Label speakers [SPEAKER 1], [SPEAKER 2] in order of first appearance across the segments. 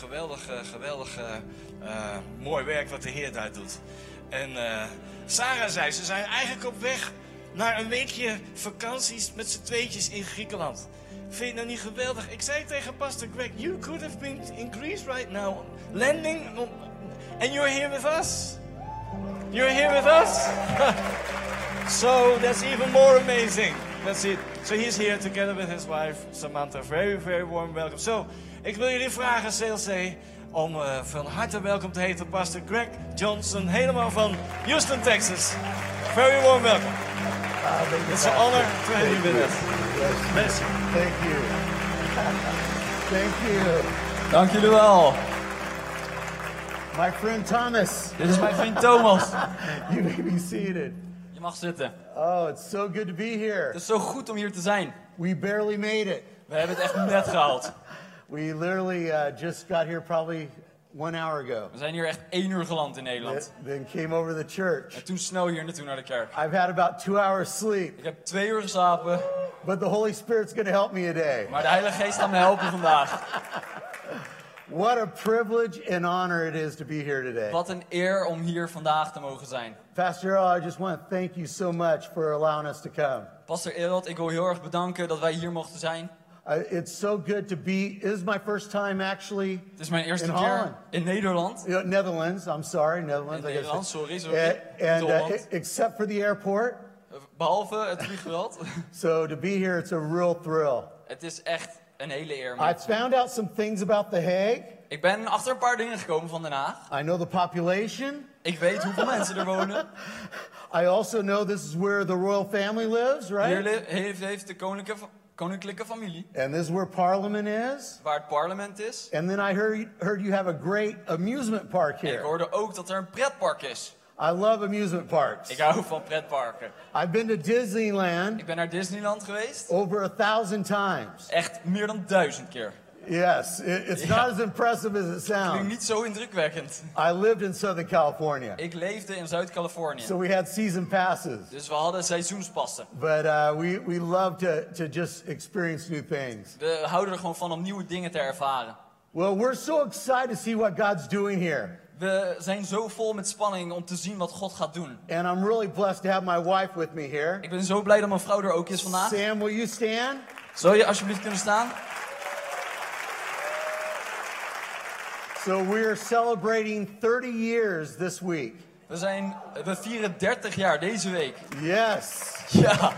[SPEAKER 1] geweldig, eh, geweldig eh, eh, mooi werk wat de Heer daar doet. En eh, Sarah zei, ze zijn eigenlijk op weg naar een weekje vakanties met z'n tweetjes in Griekenland. Vind je dat niet geweldig? Ik zei tegen pastor Greg, you could have been in Greece right now, landing, on- and you're here with us. You're here with us. So that's even more amazing. That's it. So he's here together with his wife Samantha. Very, very warm welcome. So, ik wil jullie vragen, CLC, om eh, van harte welkom te heten Pastor Greg Johnson, helemaal van Houston, Texas. Very warm welcome. It's an honor to have you with us. Merci.
[SPEAKER 2] Thank you. Thank you.
[SPEAKER 1] Dank jullie wel.
[SPEAKER 2] My friend Thomas,
[SPEAKER 1] Dit is mijn vriend Thomas.
[SPEAKER 2] you may be seated.
[SPEAKER 3] Je mag zitten.
[SPEAKER 2] Oh, it's so good to be here.
[SPEAKER 3] Het is zo goed om hier te zijn.
[SPEAKER 2] We barely made it.
[SPEAKER 3] We hebben het echt net gehaald.
[SPEAKER 2] We literally uh, just got here probably one hour ago,
[SPEAKER 3] We zijn hier echt één uur geland in Nederland.
[SPEAKER 2] then came over to the church.
[SPEAKER 3] En toen snel hier en toen naar de kerk.
[SPEAKER 2] I've had about two hours sleep,
[SPEAKER 3] Ik heb twee uur geslapen,
[SPEAKER 2] but the Holy Spirit's going to help me today.
[SPEAKER 3] maar de Heilige Geest gaat me helpen vandaag.
[SPEAKER 2] What a privilege and honor it is to be here today.
[SPEAKER 3] Wat een eer om hier vandaag te mogen zijn.
[SPEAKER 2] Pastor Earl, I just want to thank you so much for allowing us to come.
[SPEAKER 3] Pastor Eelt, ik wil heel erg bedanken dat wij hier mochten zijn.
[SPEAKER 2] Uh, it's so good to be. This is my first time actually.
[SPEAKER 3] Het is mijn eerste
[SPEAKER 2] In
[SPEAKER 3] keer
[SPEAKER 2] Holland.
[SPEAKER 3] in Nederland.
[SPEAKER 2] You know, Netherlands. I'm sorry, Netherlands.
[SPEAKER 3] In
[SPEAKER 2] I guess.
[SPEAKER 3] Nederland, sorry, sorry.
[SPEAKER 2] And, and, uh,
[SPEAKER 3] Holland.
[SPEAKER 2] except for the airport.
[SPEAKER 3] Behalve het vliegveld.
[SPEAKER 2] So to be here, it's a real thrill.
[SPEAKER 3] Het is echt een hele eer.
[SPEAKER 2] I
[SPEAKER 3] man.
[SPEAKER 2] found out some things about The Hague.
[SPEAKER 3] Ik ben achter een paar dingen gekomen van Den Haag.
[SPEAKER 2] I know the population.
[SPEAKER 3] Ik weet hoeveel mensen er wonen.
[SPEAKER 2] I also know this is where the royal family lives,
[SPEAKER 3] Hier
[SPEAKER 2] right?
[SPEAKER 3] le- heeft, heeft de koninklijke, fa- koninklijke familie,
[SPEAKER 2] And this is where Parliament is.
[SPEAKER 3] waar het parlement is.
[SPEAKER 2] And then I heard heard you have a great amusement park
[SPEAKER 3] En ik
[SPEAKER 2] here.
[SPEAKER 3] hoorde ook dat er een pretpark is.
[SPEAKER 2] I love amusement parks.
[SPEAKER 3] Ik hou van pretparken.
[SPEAKER 2] I've been to Disneyland
[SPEAKER 3] Ik ben naar Disneyland geweest.
[SPEAKER 2] over a thousand times.
[SPEAKER 3] Echt meer dan duizend keer.
[SPEAKER 2] Yes, it, it's not as impressive as it
[SPEAKER 3] Klinkt
[SPEAKER 2] sounds.
[SPEAKER 3] niet zo indrukwekkend.
[SPEAKER 2] I lived in Southern California,
[SPEAKER 3] Ik leefde in Zuid-Californië.
[SPEAKER 2] so we had season passes.
[SPEAKER 3] Dus we hadden seizoenspassen.
[SPEAKER 2] But uh, we, we love to, to just experience new things.
[SPEAKER 3] We houden er gewoon van om nieuwe dingen te ervaren.
[SPEAKER 2] Well, we're so excited to see what God's doing here.
[SPEAKER 3] We zijn zo vol met spanning om te zien wat God gaat doen.
[SPEAKER 2] And I'm really blessed to have my wife with me here.
[SPEAKER 3] Ik ben zo blij dat mijn vrouw er ook is vandaag.
[SPEAKER 2] Sam, will you stand?
[SPEAKER 3] Zou je alsjeblieft kunnen staan?
[SPEAKER 2] So we're celebrating 30 years this week.
[SPEAKER 3] We, zijn, we vieren 30 jaar deze week.
[SPEAKER 2] Yes.
[SPEAKER 3] Ja,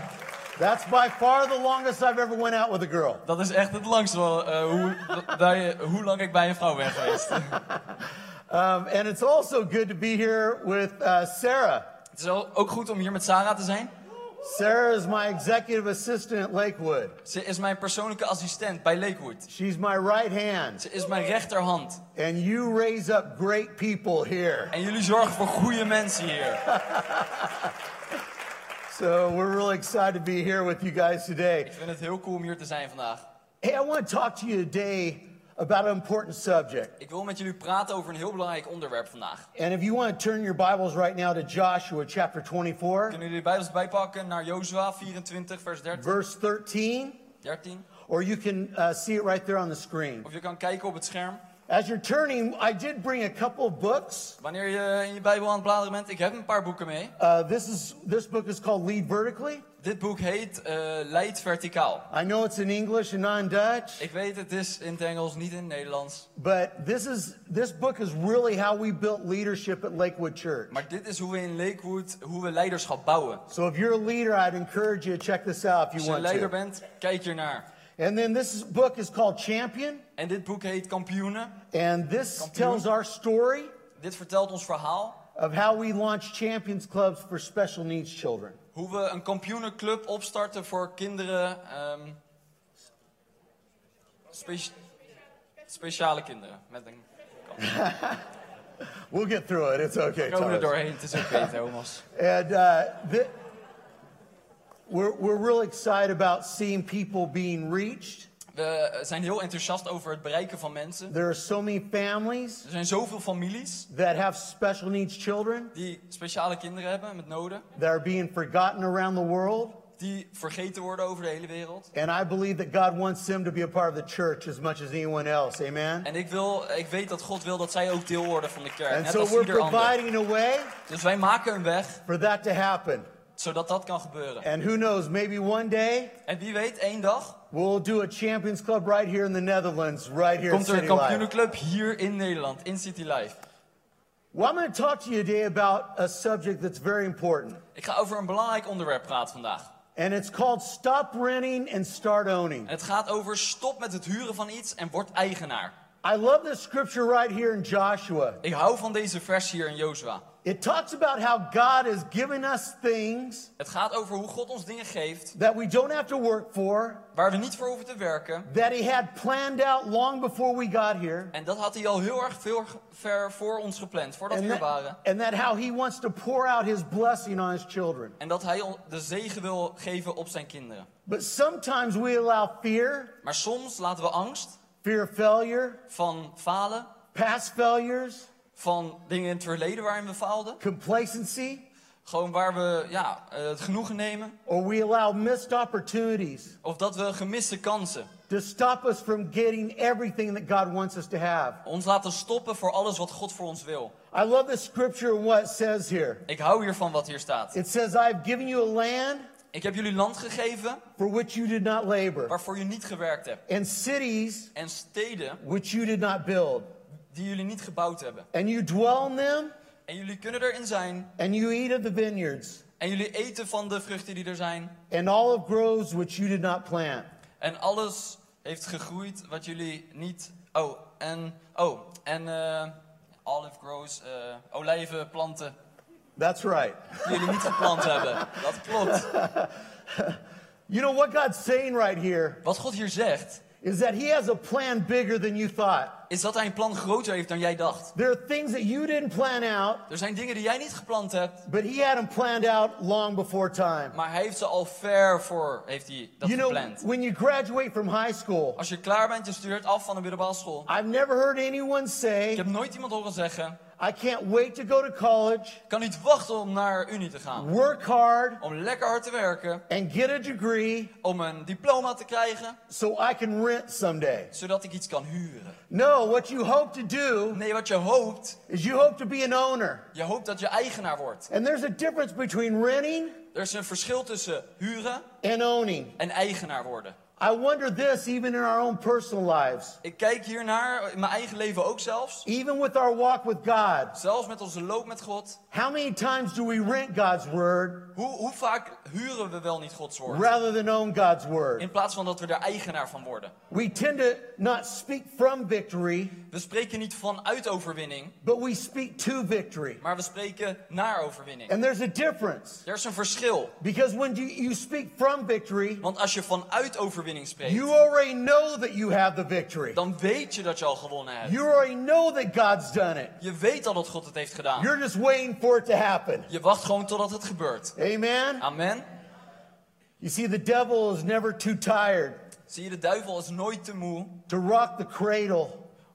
[SPEAKER 2] That's by far the longest I've ever went out with a girl.
[SPEAKER 3] dat is echt het langste wel, eh, hoe, bij, hoe lang ik bij een vrouw ben geweest.
[SPEAKER 2] Um, and it's also good to be here with uh, Sarah.
[SPEAKER 3] Het is wel ook goed om hier met Sarah te zijn.
[SPEAKER 2] Sarah is my executive assistant at Lakewood.
[SPEAKER 3] Ze is mijn persoonlijke assistent bij Lakewood.
[SPEAKER 2] She's my right hand.
[SPEAKER 3] Ze is mijn rechterhand.
[SPEAKER 2] And you raise up great people here.
[SPEAKER 3] En jullie zorgen voor goede mensen hier.
[SPEAKER 2] So we're really excited to be here with you guys today.
[SPEAKER 3] Ik vind het heel cool om hier te zijn vandaag.
[SPEAKER 2] Hey, I want to talk to you today about an important subject.
[SPEAKER 3] Ik wil met jullie praten over een heel belangrijk onderwerp vandaag.
[SPEAKER 2] And if you want to turn your Bibles right now to Joshua chapter 24,
[SPEAKER 3] Kunnen jullie de Bijbels bijpakken naar Jozua 24, vers 13?
[SPEAKER 2] verse 13,
[SPEAKER 3] 13?
[SPEAKER 2] or you can uh, see it right there on the screen.
[SPEAKER 3] Of je kan kijken op het scherm.
[SPEAKER 2] As you're turning, I did bring a couple of books.
[SPEAKER 3] Wanneer je in je Bijbel aan het bladeren bent, ik heb een paar boeken mee.
[SPEAKER 2] Uh, this is this book is called Lead Vertically.
[SPEAKER 3] Dit boek heet eh, Leid Verticaal.
[SPEAKER 2] I know it's in English and not in Dutch,
[SPEAKER 3] Ik weet, het is in het Engels, niet in het Nederlands.
[SPEAKER 2] but this is this book is really how we built leadership at Lakewood Church.
[SPEAKER 3] Maar dit is hoe we in Lakewood, hoe we leiderschap bouwen.
[SPEAKER 2] So if you're a leader, I'd encourage you to check this out if
[SPEAKER 3] Als
[SPEAKER 2] you
[SPEAKER 3] je een
[SPEAKER 2] want
[SPEAKER 3] leider
[SPEAKER 2] to.
[SPEAKER 3] bent, kijk hiernaar.
[SPEAKER 2] And then this is- book is called Champion,
[SPEAKER 3] En dit boek heet Kampioenen.
[SPEAKER 2] and this
[SPEAKER 3] Kampioen.
[SPEAKER 2] tells our story
[SPEAKER 3] Dit vertelt ons verhaal.
[SPEAKER 2] of how we launched Champions Clubs for special needs children.
[SPEAKER 3] Hoe we een kampioenenclub opstarten voor kinderen. ehm, spe- speciale kinderen. Met een...
[SPEAKER 2] We'll get through it. It's okay.
[SPEAKER 3] We komen er
[SPEAKER 2] Thomas.
[SPEAKER 3] doorheen, het is oké, Thomas.
[SPEAKER 2] And uh, thi- we're, we're really excited about seeing people being reached.
[SPEAKER 3] We zijn heel enthousiast over het bereiken van mensen.
[SPEAKER 2] There are so many families
[SPEAKER 3] Er zijn zoveel families
[SPEAKER 2] that have special needs children
[SPEAKER 3] die speciale kinderen hebben met noden.
[SPEAKER 2] that are being forgotten around the world.
[SPEAKER 3] die vergeten worden over de hele wereld.
[SPEAKER 2] And I believe that God wants them to be a part of the church as much as anyone else. Amen?
[SPEAKER 3] En ik, wil, ik weet dat God wil dat zij ook deel worden van de kerk.
[SPEAKER 2] And
[SPEAKER 3] net
[SPEAKER 2] so
[SPEAKER 3] als
[SPEAKER 2] we're
[SPEAKER 3] ieder ander.
[SPEAKER 2] providing a way
[SPEAKER 3] Dus wij maken een weg
[SPEAKER 2] for that to happen.
[SPEAKER 3] zodat dat kan gebeuren.
[SPEAKER 2] And who knows, maybe one day
[SPEAKER 3] En wie weet, één dag
[SPEAKER 2] we'll do a Champions Club right here in the Netherlands, right here
[SPEAKER 3] komt
[SPEAKER 2] in
[SPEAKER 3] er een
[SPEAKER 2] City Life.
[SPEAKER 3] kampioenenclub hier in Nederland, in City Life.
[SPEAKER 2] Well, I'm going to talk to you today about a subject that's very important.
[SPEAKER 3] Ik ga over een belangrijk onderwerp praten vandaag.
[SPEAKER 2] And it's called Stop Renting and Start Owning.
[SPEAKER 3] En het gaat over stop met het huren van iets en word eigenaar.
[SPEAKER 2] I love this scripture right here in Joshua.
[SPEAKER 3] Ik hou van deze vers hier in Jozua.
[SPEAKER 2] It talks about how God has given us things
[SPEAKER 3] Het gaat over hoe God ons dingen geeft
[SPEAKER 2] that we don't have to work for,
[SPEAKER 3] waar we niet voor hoeven te werken.
[SPEAKER 2] that He had planned out long before we got here,
[SPEAKER 3] En dat had hij al heel erg veel ver voor ons gepland, voordat we
[SPEAKER 2] and
[SPEAKER 3] hier
[SPEAKER 2] that,
[SPEAKER 3] waren.
[SPEAKER 2] and that how He wants to pour out His blessing on His children.
[SPEAKER 3] En dat hij on- de zegen wil geven op zijn kinderen.
[SPEAKER 2] But sometimes we allow fear,
[SPEAKER 3] Maar soms laten we angst
[SPEAKER 2] fear of failure,
[SPEAKER 3] van falen,
[SPEAKER 2] past failures,
[SPEAKER 3] van dingen in het verleden waarin we faalden.
[SPEAKER 2] complacency,
[SPEAKER 3] Gewoon waar we ja, eh, het genoegen nemen.
[SPEAKER 2] or we allow missed opportunities
[SPEAKER 3] Of dat we gemiste kansen
[SPEAKER 2] to stop us from getting everything that God wants us to have.
[SPEAKER 3] ons laten stoppen voor alles wat God voor ons wil.
[SPEAKER 2] I love this scripture and what it says here.
[SPEAKER 3] Ik hou hier van wat hier staat.
[SPEAKER 2] It says, I've given you a land
[SPEAKER 3] Ik heb jullie land gegeven
[SPEAKER 2] for which you did not labor,
[SPEAKER 3] waarvoor je niet gewerkt hebt.
[SPEAKER 2] and cities
[SPEAKER 3] En steden
[SPEAKER 2] which you did not build.
[SPEAKER 3] die jullie niet gebouwd hebben.
[SPEAKER 2] And you dwell in them,
[SPEAKER 3] En jullie kunnen erin zijn.
[SPEAKER 2] and you eat of the vineyards,
[SPEAKER 3] En jullie eten van de vruchten die er zijn.
[SPEAKER 2] and olive groves which you did not plant.
[SPEAKER 3] En alles heeft gegroeid wat jullie niet. Oh, en. Oh, en. eh olive groves, eh, olijven, planten.
[SPEAKER 2] That's right.
[SPEAKER 3] Die jullie niet geplant hebben. Dat klopt.
[SPEAKER 2] You know what God's saying right here
[SPEAKER 3] Wat God hier zegt.
[SPEAKER 2] is that He has a plan bigger than you thought.
[SPEAKER 3] Is dat hij een plan groter heeft dan jij dacht.
[SPEAKER 2] There are things that you didn't plan out,
[SPEAKER 3] Er zijn dingen die jij niet geplant hebt.
[SPEAKER 2] but He had them planned out long before time.
[SPEAKER 3] Maar hij heeft ze al ver voor, heeft hij dat
[SPEAKER 2] You know,
[SPEAKER 3] gepland.
[SPEAKER 2] when you graduate from high school,
[SPEAKER 3] Als je klaar bent, je studeert af van de middelbare school.
[SPEAKER 2] I've never heard anyone
[SPEAKER 3] Ik
[SPEAKER 2] say,
[SPEAKER 3] heb nooit iemand horen zeggen,
[SPEAKER 2] I can't wait to go to college,
[SPEAKER 3] kan niet wachten om naar Unie te gaan.
[SPEAKER 2] work hard,
[SPEAKER 3] Om lekker hard te werken,
[SPEAKER 2] and get a degree
[SPEAKER 3] om een diploma te krijgen,
[SPEAKER 2] so I can rent someday.
[SPEAKER 3] zodat ik iets kan huren.
[SPEAKER 2] No, what you hope to do
[SPEAKER 3] Nee, wat je hoopt,
[SPEAKER 2] is you hope to be an owner.
[SPEAKER 3] je hoopt dat je eigenaar wordt.
[SPEAKER 2] And there's a difference between renting
[SPEAKER 3] Er is een verschil tussen huren
[SPEAKER 2] and owning.
[SPEAKER 3] en eigenaar worden.
[SPEAKER 2] I wonder this even in our own personal lives,
[SPEAKER 3] Ik kijk hier naar, in mijn eigen leven ook zelfs.
[SPEAKER 2] even with our walk with God.
[SPEAKER 3] Zelfs met onze loop met God.
[SPEAKER 2] How many times do we rent God's word
[SPEAKER 3] Hoe, hoe vaak huren we wel niet Gods woord?
[SPEAKER 2] rather than own God's word?
[SPEAKER 3] In plaats van dat we er eigenaar van worden.
[SPEAKER 2] We tend to not speak from victory,
[SPEAKER 3] We spreken niet vanuit overwinning,
[SPEAKER 2] but we speak to victory.
[SPEAKER 3] maar we spreken naar overwinning.
[SPEAKER 2] And there's a difference.
[SPEAKER 3] Er is een verschil.
[SPEAKER 2] Because when you, you speak from victory,
[SPEAKER 3] Want als je vanuit overwinning spreekt,
[SPEAKER 2] you already know that you have the victory.
[SPEAKER 3] dan weet je dat je al gewonnen hebt.
[SPEAKER 2] You already know that God's done it.
[SPEAKER 3] Je weet al dat God het heeft gedaan.
[SPEAKER 2] You're just waiting for it to happen.
[SPEAKER 3] Je wacht gewoon totdat het gebeurt.
[SPEAKER 2] Amen?
[SPEAKER 3] Amen.
[SPEAKER 2] You see, the devil is never too tired
[SPEAKER 3] Zie je, de duivel is nooit te moe
[SPEAKER 2] to rock the cradle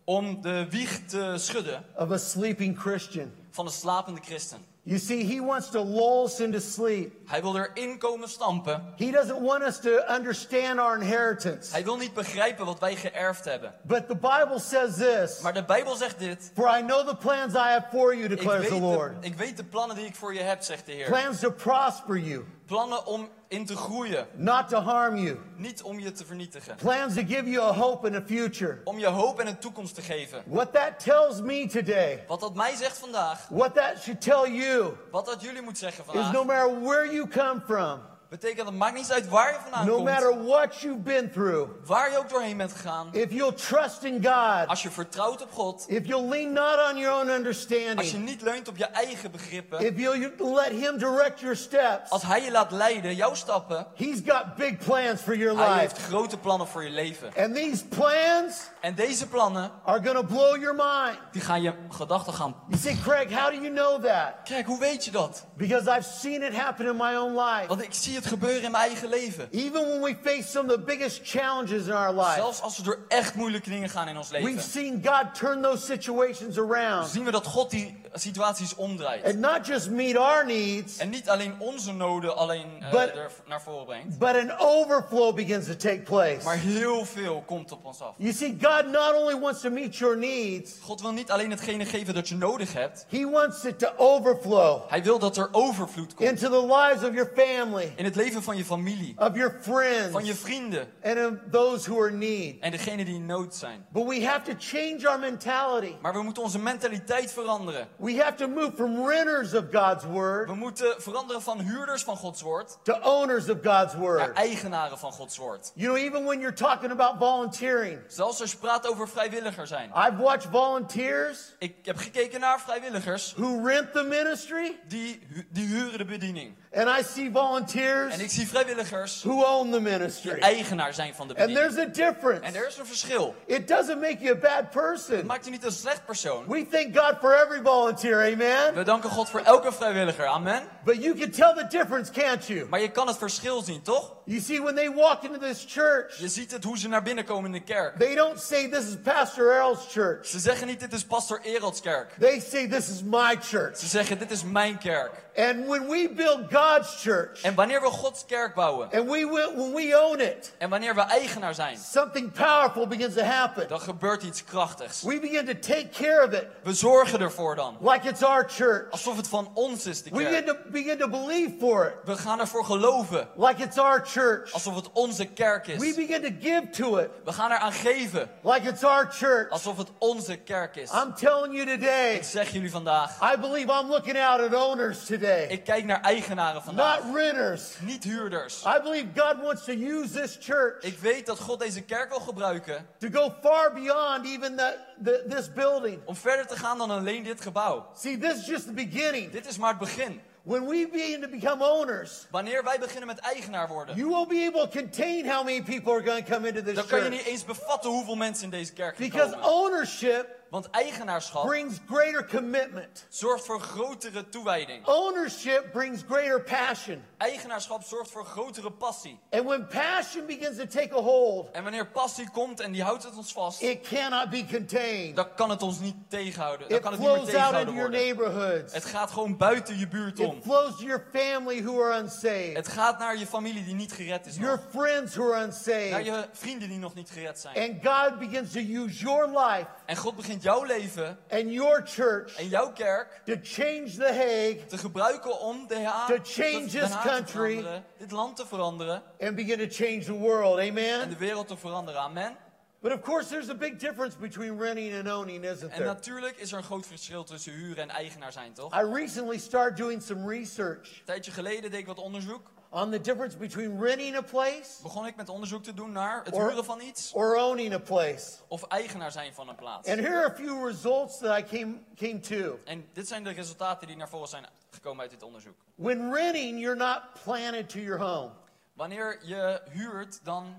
[SPEAKER 3] om de wieg te schudden
[SPEAKER 2] of a sleeping Christian.
[SPEAKER 3] van een slapende christen.
[SPEAKER 2] You see, he wants to lull us into sleep.
[SPEAKER 3] Hij wil erin komen stampen.
[SPEAKER 2] He doesn't want us to understand our inheritance.
[SPEAKER 3] Hij wil niet begrijpen wat wij geërfd hebben.
[SPEAKER 2] But the Bible says this
[SPEAKER 3] Maar de Bijbel zegt dit.
[SPEAKER 2] For I know the plans I have for you,
[SPEAKER 3] Ik weet,
[SPEAKER 2] declares the
[SPEAKER 3] de,
[SPEAKER 2] Lord.
[SPEAKER 3] ik weet de plannen die ik voor je heb, zegt de Heer.
[SPEAKER 2] Plans to prosper you,
[SPEAKER 3] Plannen om in te groeien,
[SPEAKER 2] not to harm you.
[SPEAKER 3] niet om je te vernietigen.
[SPEAKER 2] Plans to give you a hope and a future.
[SPEAKER 3] om je hoop en een toekomst te geven.
[SPEAKER 2] What that tells me today,
[SPEAKER 3] Wat dat mij zegt vandaag,
[SPEAKER 2] what that should tell you,
[SPEAKER 3] wat dat jullie moet zeggen
[SPEAKER 2] is
[SPEAKER 3] vandaag,
[SPEAKER 2] no matter where you come from,
[SPEAKER 3] betekent dat het maakt niet uit waar je vandaan
[SPEAKER 2] no
[SPEAKER 3] komt,
[SPEAKER 2] matter what you've been through,
[SPEAKER 3] waar je ook doorheen bent gegaan.
[SPEAKER 2] if you'll trust in God,
[SPEAKER 3] Als je vertrouwt op God,
[SPEAKER 2] if you'll lean not on your own
[SPEAKER 3] als je
[SPEAKER 2] understanding,
[SPEAKER 3] niet leunt op je eigen begrippen,
[SPEAKER 2] if you'll you- let Him direct your steps,
[SPEAKER 3] als Hij je laat leiden, jouw stappen,
[SPEAKER 2] He's got big plans for your
[SPEAKER 3] Hij heeft
[SPEAKER 2] life.
[SPEAKER 3] grote plannen voor je leven.
[SPEAKER 2] And these plans
[SPEAKER 3] En deze plannen,
[SPEAKER 2] are going to blow your mind.
[SPEAKER 3] die gaan je gedachten gaan.
[SPEAKER 2] You say, Craig, how do you know that?
[SPEAKER 3] Kijk, hoe weet je dat?
[SPEAKER 2] Because I've seen it happen in my own life.
[SPEAKER 3] Want ik zie het het gebeuren in mijn eigen leven.
[SPEAKER 2] Even when we face some of the biggest challenges in our lives,
[SPEAKER 3] Zelfs als we door echt moeilijke dingen gaan in ons
[SPEAKER 2] we've
[SPEAKER 3] leven,
[SPEAKER 2] seen God turn those situations around
[SPEAKER 3] zien we dat God die situaties omdraait.
[SPEAKER 2] and not just meet our needs,
[SPEAKER 3] En niet alleen onze noden alleen eh,
[SPEAKER 2] But-
[SPEAKER 3] er naar voren brengt,
[SPEAKER 2] but an overflow begins to take place.
[SPEAKER 3] maar heel veel komt op ons af.
[SPEAKER 2] You see, God not only wants to meet your needs,
[SPEAKER 3] God wil niet alleen hetgene geven dat je nodig hebt,
[SPEAKER 2] He wants it to overflow
[SPEAKER 3] Hij wil dat er overvloed komt.
[SPEAKER 2] into the lives of your family,
[SPEAKER 3] In het leven van je familie,
[SPEAKER 2] of your
[SPEAKER 3] van je
[SPEAKER 2] friends,
[SPEAKER 3] vrienden
[SPEAKER 2] and of those who are in need.
[SPEAKER 3] en degenen die in nood zijn.
[SPEAKER 2] But we have to change our mentality.
[SPEAKER 3] Maar we moeten onze mentaliteit veranderen.
[SPEAKER 2] We have to move from renters of God's
[SPEAKER 3] We
[SPEAKER 2] word
[SPEAKER 3] moeten veranderen van huurders van Gods woord
[SPEAKER 2] to owners of God's
[SPEAKER 3] naar
[SPEAKER 2] word.
[SPEAKER 3] eigenaren van Gods woord.
[SPEAKER 2] You know, even when you're talking about volunteering,
[SPEAKER 3] Zelfs als je praat over vrijwilliger zijn.
[SPEAKER 2] I've watched volunteers
[SPEAKER 3] Ik heb gekeken naar vrijwilligers
[SPEAKER 2] who rent the ministry,
[SPEAKER 3] die, hu- die huren de bediening.
[SPEAKER 2] and I see
[SPEAKER 3] En ik
[SPEAKER 2] volunteers
[SPEAKER 3] zie vrijwilligers
[SPEAKER 2] who own the
[SPEAKER 3] die
[SPEAKER 2] ministry.
[SPEAKER 3] eigenaar zijn van de
[SPEAKER 2] And there's
[SPEAKER 3] bediening.
[SPEAKER 2] a difference.
[SPEAKER 3] En er is een verschil.
[SPEAKER 2] It doesn't make you a bad
[SPEAKER 3] Het
[SPEAKER 2] person.
[SPEAKER 3] maakt je niet een slecht persoon.
[SPEAKER 2] We thank God for every volunteer, amen?
[SPEAKER 3] We danken God voor elke vrijwilliger. Amen.
[SPEAKER 2] But you can tell the difference, can't you?
[SPEAKER 3] Maar je kan het verschil zien, toch?
[SPEAKER 2] You see, when they walk into this church,
[SPEAKER 3] Je ziet het hoe ze naar binnen komen in de kerk.
[SPEAKER 2] they don't say, This is Pastor Errol's church.
[SPEAKER 3] Ze zeggen niet dit is pastor Erelds kerk.
[SPEAKER 2] They say, This is my church.
[SPEAKER 3] Ze zeggen dit is mijn kerk.
[SPEAKER 2] And when we build God's church,
[SPEAKER 3] En wanneer we Gods kerk bouwen
[SPEAKER 2] and we will, when we own it,
[SPEAKER 3] en wanneer we eigenaar zijn,
[SPEAKER 2] something powerful begins to happen.
[SPEAKER 3] dan gebeurt iets krachtigs.
[SPEAKER 2] We begin to take care of it
[SPEAKER 3] We zorgen ervoor dan.
[SPEAKER 2] like it's our church.
[SPEAKER 3] Alsof het van ons is, de
[SPEAKER 2] We begin
[SPEAKER 3] kerk.
[SPEAKER 2] to begin to believe for it
[SPEAKER 3] We gaan ervoor geloven.
[SPEAKER 2] like it's our church.
[SPEAKER 3] Alsof het onze kerk
[SPEAKER 2] We
[SPEAKER 3] is.
[SPEAKER 2] begin to give to it
[SPEAKER 3] We gaan eraan geven.
[SPEAKER 2] like it's our church.
[SPEAKER 3] Alsof het onze kerk is.
[SPEAKER 2] I'm telling you today,
[SPEAKER 3] Ik zeg jullie vandaag.
[SPEAKER 2] I believe I'm looking out at owners today,
[SPEAKER 3] Ik kijk naar eigenaren vandaag.
[SPEAKER 2] not renters.
[SPEAKER 3] Niet huurders.
[SPEAKER 2] I believe God wants to use this church
[SPEAKER 3] Ik weet dat God deze kerk wil gebruiken
[SPEAKER 2] to go far beyond even the, the, this building.
[SPEAKER 3] om verder te gaan dan alleen dit gebouw.
[SPEAKER 2] See, this is just the beginning.
[SPEAKER 3] Dit is maar het begin.
[SPEAKER 2] When we begin to become owners,
[SPEAKER 3] Wanneer wij beginnen met eigenaar worden,
[SPEAKER 2] you won't be able to contain how many people are going to come into this
[SPEAKER 3] dan kan je
[SPEAKER 2] church.
[SPEAKER 3] niet eens bevatten hoeveel mensen in deze kerk gaan
[SPEAKER 2] Because
[SPEAKER 3] komen.
[SPEAKER 2] ownership
[SPEAKER 3] Want eigenaarschap
[SPEAKER 2] brings greater commitment.
[SPEAKER 3] zorgt voor grotere toewijding.
[SPEAKER 2] Oh. Ownership brings greater passion.
[SPEAKER 3] Eigenaarschap zorgt voor grotere passie.
[SPEAKER 2] And when passion begins to take a hold,
[SPEAKER 3] En wanneer passie komt en die houdt het ons vast,
[SPEAKER 2] it cannot be contained.
[SPEAKER 3] dan kan het ons niet tegenhouden. Dan
[SPEAKER 2] It
[SPEAKER 3] kan het niet meer
[SPEAKER 2] flows out into
[SPEAKER 3] tegenhouden
[SPEAKER 2] your
[SPEAKER 3] worden.
[SPEAKER 2] neighborhoods.
[SPEAKER 3] Het gaat gewoon buiten je buurt om.
[SPEAKER 2] It flows to your family who are unsaved,
[SPEAKER 3] Het gaat naar je familie die niet gered is
[SPEAKER 2] your
[SPEAKER 3] nog.
[SPEAKER 2] friends who are
[SPEAKER 3] Naar
[SPEAKER 2] unsaved.
[SPEAKER 3] je vrienden die nog niet gered zijn.
[SPEAKER 2] And God begins to use your life
[SPEAKER 3] En God begint jouw leven
[SPEAKER 2] and your church
[SPEAKER 3] en jouw kerk
[SPEAKER 2] to change The Hague
[SPEAKER 3] te gebruiken om de Haag,
[SPEAKER 2] To change
[SPEAKER 3] Den
[SPEAKER 2] this
[SPEAKER 3] Haag te
[SPEAKER 2] country.
[SPEAKER 3] veranderen, dit land te veranderen
[SPEAKER 2] and begin to change the world.
[SPEAKER 3] en de
[SPEAKER 2] Amen?
[SPEAKER 3] wereld te veranderen. Amen.
[SPEAKER 2] But of course, there's a big difference between renting and owning, isn't
[SPEAKER 3] En
[SPEAKER 2] there?
[SPEAKER 3] natuurlijk is er een groot verschil tussen huren en eigenaar zijn, toch?
[SPEAKER 2] I recently started doing some research
[SPEAKER 3] Een tijdje geleden deed ik wat onderzoek.
[SPEAKER 2] on the difference between renting a place
[SPEAKER 3] Begon ik met onderzoek te doen naar het
[SPEAKER 2] Or-
[SPEAKER 3] huren van iets
[SPEAKER 2] or owning a place.
[SPEAKER 3] of eigenaar zijn van een plaats.
[SPEAKER 2] And here are a few results that I came, came to.
[SPEAKER 3] En dit zijn de resultaten die naar voren zijn gekomen uit dit onderzoek.
[SPEAKER 2] When renting, you're not planted to your home.
[SPEAKER 3] Wanneer je huurt, dan,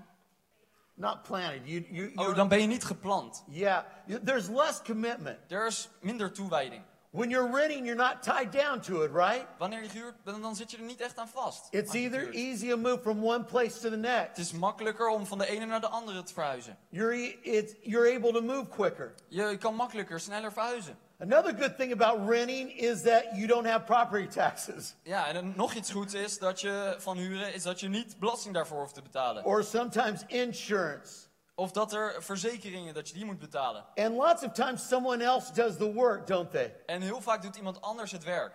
[SPEAKER 2] Not planted. You, you,
[SPEAKER 3] oh,
[SPEAKER 2] you're-
[SPEAKER 3] dan ben je niet gepland.
[SPEAKER 2] Yeah, you- there's less commitment.
[SPEAKER 3] Er is minder toewijding.
[SPEAKER 2] When you're renting, you're not tied down to it, right?
[SPEAKER 3] Wanneer je huurt, dan, dan zit je er niet echt aan vast.
[SPEAKER 2] It's
[SPEAKER 3] aan die
[SPEAKER 2] either e-
[SPEAKER 3] huur.
[SPEAKER 2] easy to move from one place to the
[SPEAKER 3] Het
[SPEAKER 2] next.
[SPEAKER 3] is makkelijker om van de ene naar de andere te verhuizen.
[SPEAKER 2] You're, e- it's, you're able to move quicker.
[SPEAKER 3] Je kan makkelijker, sneller verhuizen.
[SPEAKER 2] Another good thing about renting is that you don't have property taxes.
[SPEAKER 3] Ja, en dan nog iets goeds is dat je van huren is dat je niet belasting daarvoor hoeft te betalen.
[SPEAKER 2] or sometimes insurance.
[SPEAKER 3] Of dat er verzekeringen dat je die moet betalen.
[SPEAKER 2] And lots of times someone else does the work, don't they?
[SPEAKER 3] En heel vaak doet iemand anders het werk.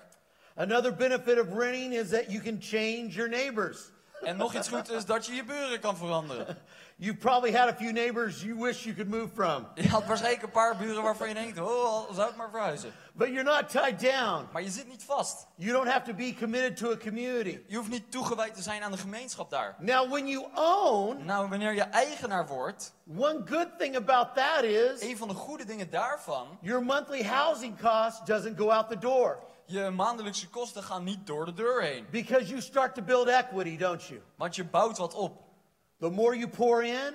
[SPEAKER 2] Another benefit of renting is that you can change your neighbors.
[SPEAKER 3] En nog iets goeds is dat je je buren kan veranderen.
[SPEAKER 2] You've probably had a few neighbors you wish you could move from,
[SPEAKER 3] Je had waarschijnlijk een paar buren waarvan je denkt, oh, al zou ik maar verhuizen.
[SPEAKER 2] but you're not tied down.
[SPEAKER 3] Maar je zit niet vast.
[SPEAKER 2] You don't have to be committed to a community.
[SPEAKER 3] Je hoeft niet toegewijd te zijn aan de gemeenschap daar.
[SPEAKER 2] Now, when you own,
[SPEAKER 3] Nou, wanneer je eigenaar wordt,
[SPEAKER 2] one good thing about that is
[SPEAKER 3] een van de goede dingen daarvan,
[SPEAKER 2] your monthly housing cost doesn't go out the door
[SPEAKER 3] je maandelijkse kosten gaan niet door de deur heen.
[SPEAKER 2] because you start to build equity, don't you?
[SPEAKER 3] Want je bouwt wat op.
[SPEAKER 2] The more you pour in,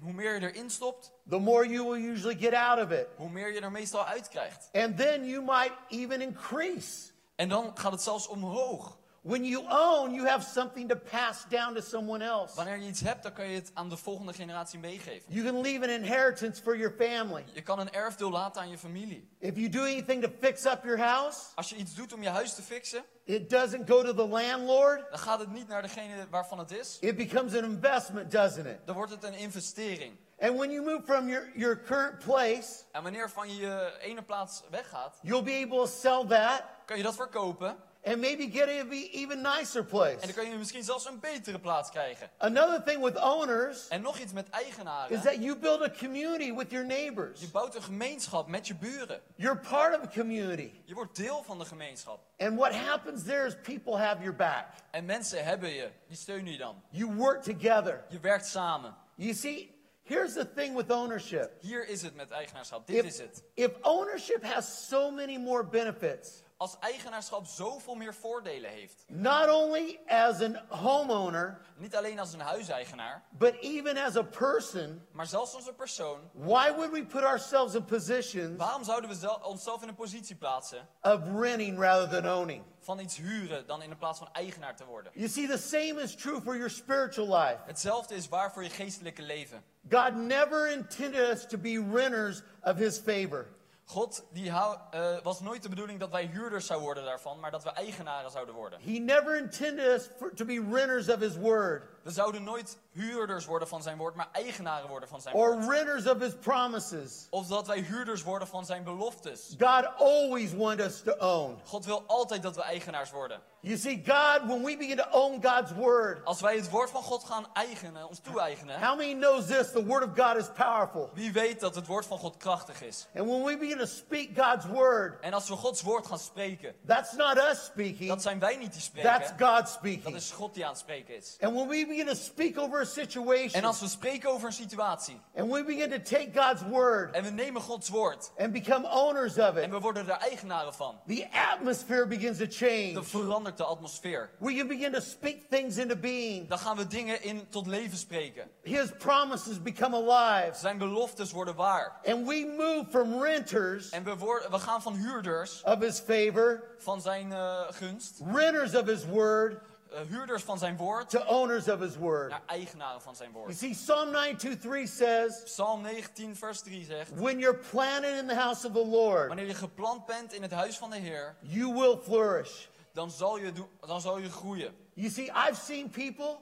[SPEAKER 3] Hoe meer je erin stopt,
[SPEAKER 2] the more you will usually get out of it.
[SPEAKER 3] hoe meer je er meestal uit krijgt.
[SPEAKER 2] And then you might even increase
[SPEAKER 3] En dan gaat het zelfs omhoog.
[SPEAKER 2] When you own, you have something to pass down to someone else.
[SPEAKER 3] Wanneer je iets hebt, dan kan je het aan de volgende generatie meegeven.
[SPEAKER 2] You can leave an inheritance for your family.
[SPEAKER 3] Je kan een erfdeel laten aan je familie.
[SPEAKER 2] If you do anything to fix up your house,
[SPEAKER 3] Als je iets doet om je huis te fixen,
[SPEAKER 2] it doesn't go to the landlord.
[SPEAKER 3] dan gaat het niet naar degene waarvan het is.
[SPEAKER 2] It becomes an investment, doesn't it?
[SPEAKER 3] Dan wordt het een investering.
[SPEAKER 2] And when you move from your, your current place,
[SPEAKER 3] En wanneer van je ene plaats weggaat,
[SPEAKER 2] you'll be able to sell that
[SPEAKER 3] kan je dat verkopen.
[SPEAKER 2] and maybe get a be even nicer place.
[SPEAKER 3] En dan kan je misschien zelfs een betere plaats krijgen.
[SPEAKER 2] Another thing with owners
[SPEAKER 3] En nog iets met
[SPEAKER 2] is
[SPEAKER 3] eigenaren.
[SPEAKER 2] that you build a community with your neighbors.
[SPEAKER 3] Je bouwt een gemeenschap met je buren.
[SPEAKER 2] You're part of a community.
[SPEAKER 3] Je wordt deel van de gemeenschap.
[SPEAKER 2] And what happens there is people have your back.
[SPEAKER 3] En mensen hebben je. Die steunen je dan.
[SPEAKER 2] You work together.
[SPEAKER 3] Je werkt samen.
[SPEAKER 2] You see, here's the thing with ownership.
[SPEAKER 3] Hier is het met eigenaarschap. Dit is
[SPEAKER 2] If,
[SPEAKER 3] het.
[SPEAKER 2] if ownership has so many more benefits,
[SPEAKER 3] Als eigenaarschap zoveel meer voordelen heeft.
[SPEAKER 2] not only as a homeowner,
[SPEAKER 3] Niet alleen als een huiseigenaar,
[SPEAKER 2] but even as a person,
[SPEAKER 3] maar zelfs als een persoon.
[SPEAKER 2] why would we put ourselves in positions
[SPEAKER 3] Waarom zouden we zel- onszelf in een positie plaatsen
[SPEAKER 2] of renting rather than owning?
[SPEAKER 3] van iets huren dan in de plaats van eigenaar te worden?
[SPEAKER 2] You see, the same is true for your spiritual life.
[SPEAKER 3] Hetzelfde is waar voor je geestelijke leven.
[SPEAKER 2] God never intended us to be renters of his favor.
[SPEAKER 3] God die hou- eh, was nooit de bedoeling dat wij huurders zouden worden daarvan, maar dat we eigenaren zouden worden.
[SPEAKER 2] He never intended us for, to be renters of his word
[SPEAKER 3] We zouden nooit huurders worden van zijn woord, maar eigenaren worden van zijn
[SPEAKER 2] or
[SPEAKER 3] woord.
[SPEAKER 2] renters of his promises.
[SPEAKER 3] Of dat wij huurders worden van zijn beloftes.
[SPEAKER 2] God always wanted us to own.
[SPEAKER 3] God wil altijd dat we eigenaars worden.
[SPEAKER 2] You see, God, when we begin to own God's word,
[SPEAKER 3] Als wij het woord van God gaan eigenen, ons toe-eigenen,
[SPEAKER 2] how many knows this? The word of God is powerful.
[SPEAKER 3] wie weet dat het woord van God krachtig is.
[SPEAKER 2] And when we begin to speak God's word,
[SPEAKER 3] En als we Gods woord gaan spreken,
[SPEAKER 2] that's not us speaking,
[SPEAKER 3] dat zijn wij niet die
[SPEAKER 2] that's
[SPEAKER 3] spreken.
[SPEAKER 2] God
[SPEAKER 3] Dat
[SPEAKER 2] speaking.
[SPEAKER 3] is God die aan het spreken is.
[SPEAKER 2] And when we begin to speak over a
[SPEAKER 3] En
[SPEAKER 2] situation,
[SPEAKER 3] als we spreken over een situatie
[SPEAKER 2] and we begin to take God's word
[SPEAKER 3] en we nemen Gods woord
[SPEAKER 2] and become owners of
[SPEAKER 3] en
[SPEAKER 2] it,
[SPEAKER 3] we worden er eigenaren van,
[SPEAKER 2] the atmosphere begins to
[SPEAKER 3] dan
[SPEAKER 2] change.
[SPEAKER 3] verandert de atmosfeer.
[SPEAKER 2] We can begin to speak things into being.
[SPEAKER 3] Dan gaan we dingen in tot leven spreken.
[SPEAKER 2] His promises become alive.
[SPEAKER 3] Zijn beloftes worden waar.
[SPEAKER 2] And we move from renters
[SPEAKER 3] En we, worden, we gaan van huurders
[SPEAKER 2] of his favor
[SPEAKER 3] van zijn eh, gunst,
[SPEAKER 2] renters of his word
[SPEAKER 3] eh, huurders van zijn woord,
[SPEAKER 2] to owners of his word.
[SPEAKER 3] naar eigenaren van zijn
[SPEAKER 2] You
[SPEAKER 3] woord.
[SPEAKER 2] see, Psalm 923 says,
[SPEAKER 3] Psalm 19, vers 3 zegt:
[SPEAKER 2] When you're planted in the house of the Lord,
[SPEAKER 3] Wanneer je geplant bent in het huis van de Heer,
[SPEAKER 2] you will flourish.
[SPEAKER 3] dan zal je, doen- dan zal je groeien.
[SPEAKER 2] You see, I've seen people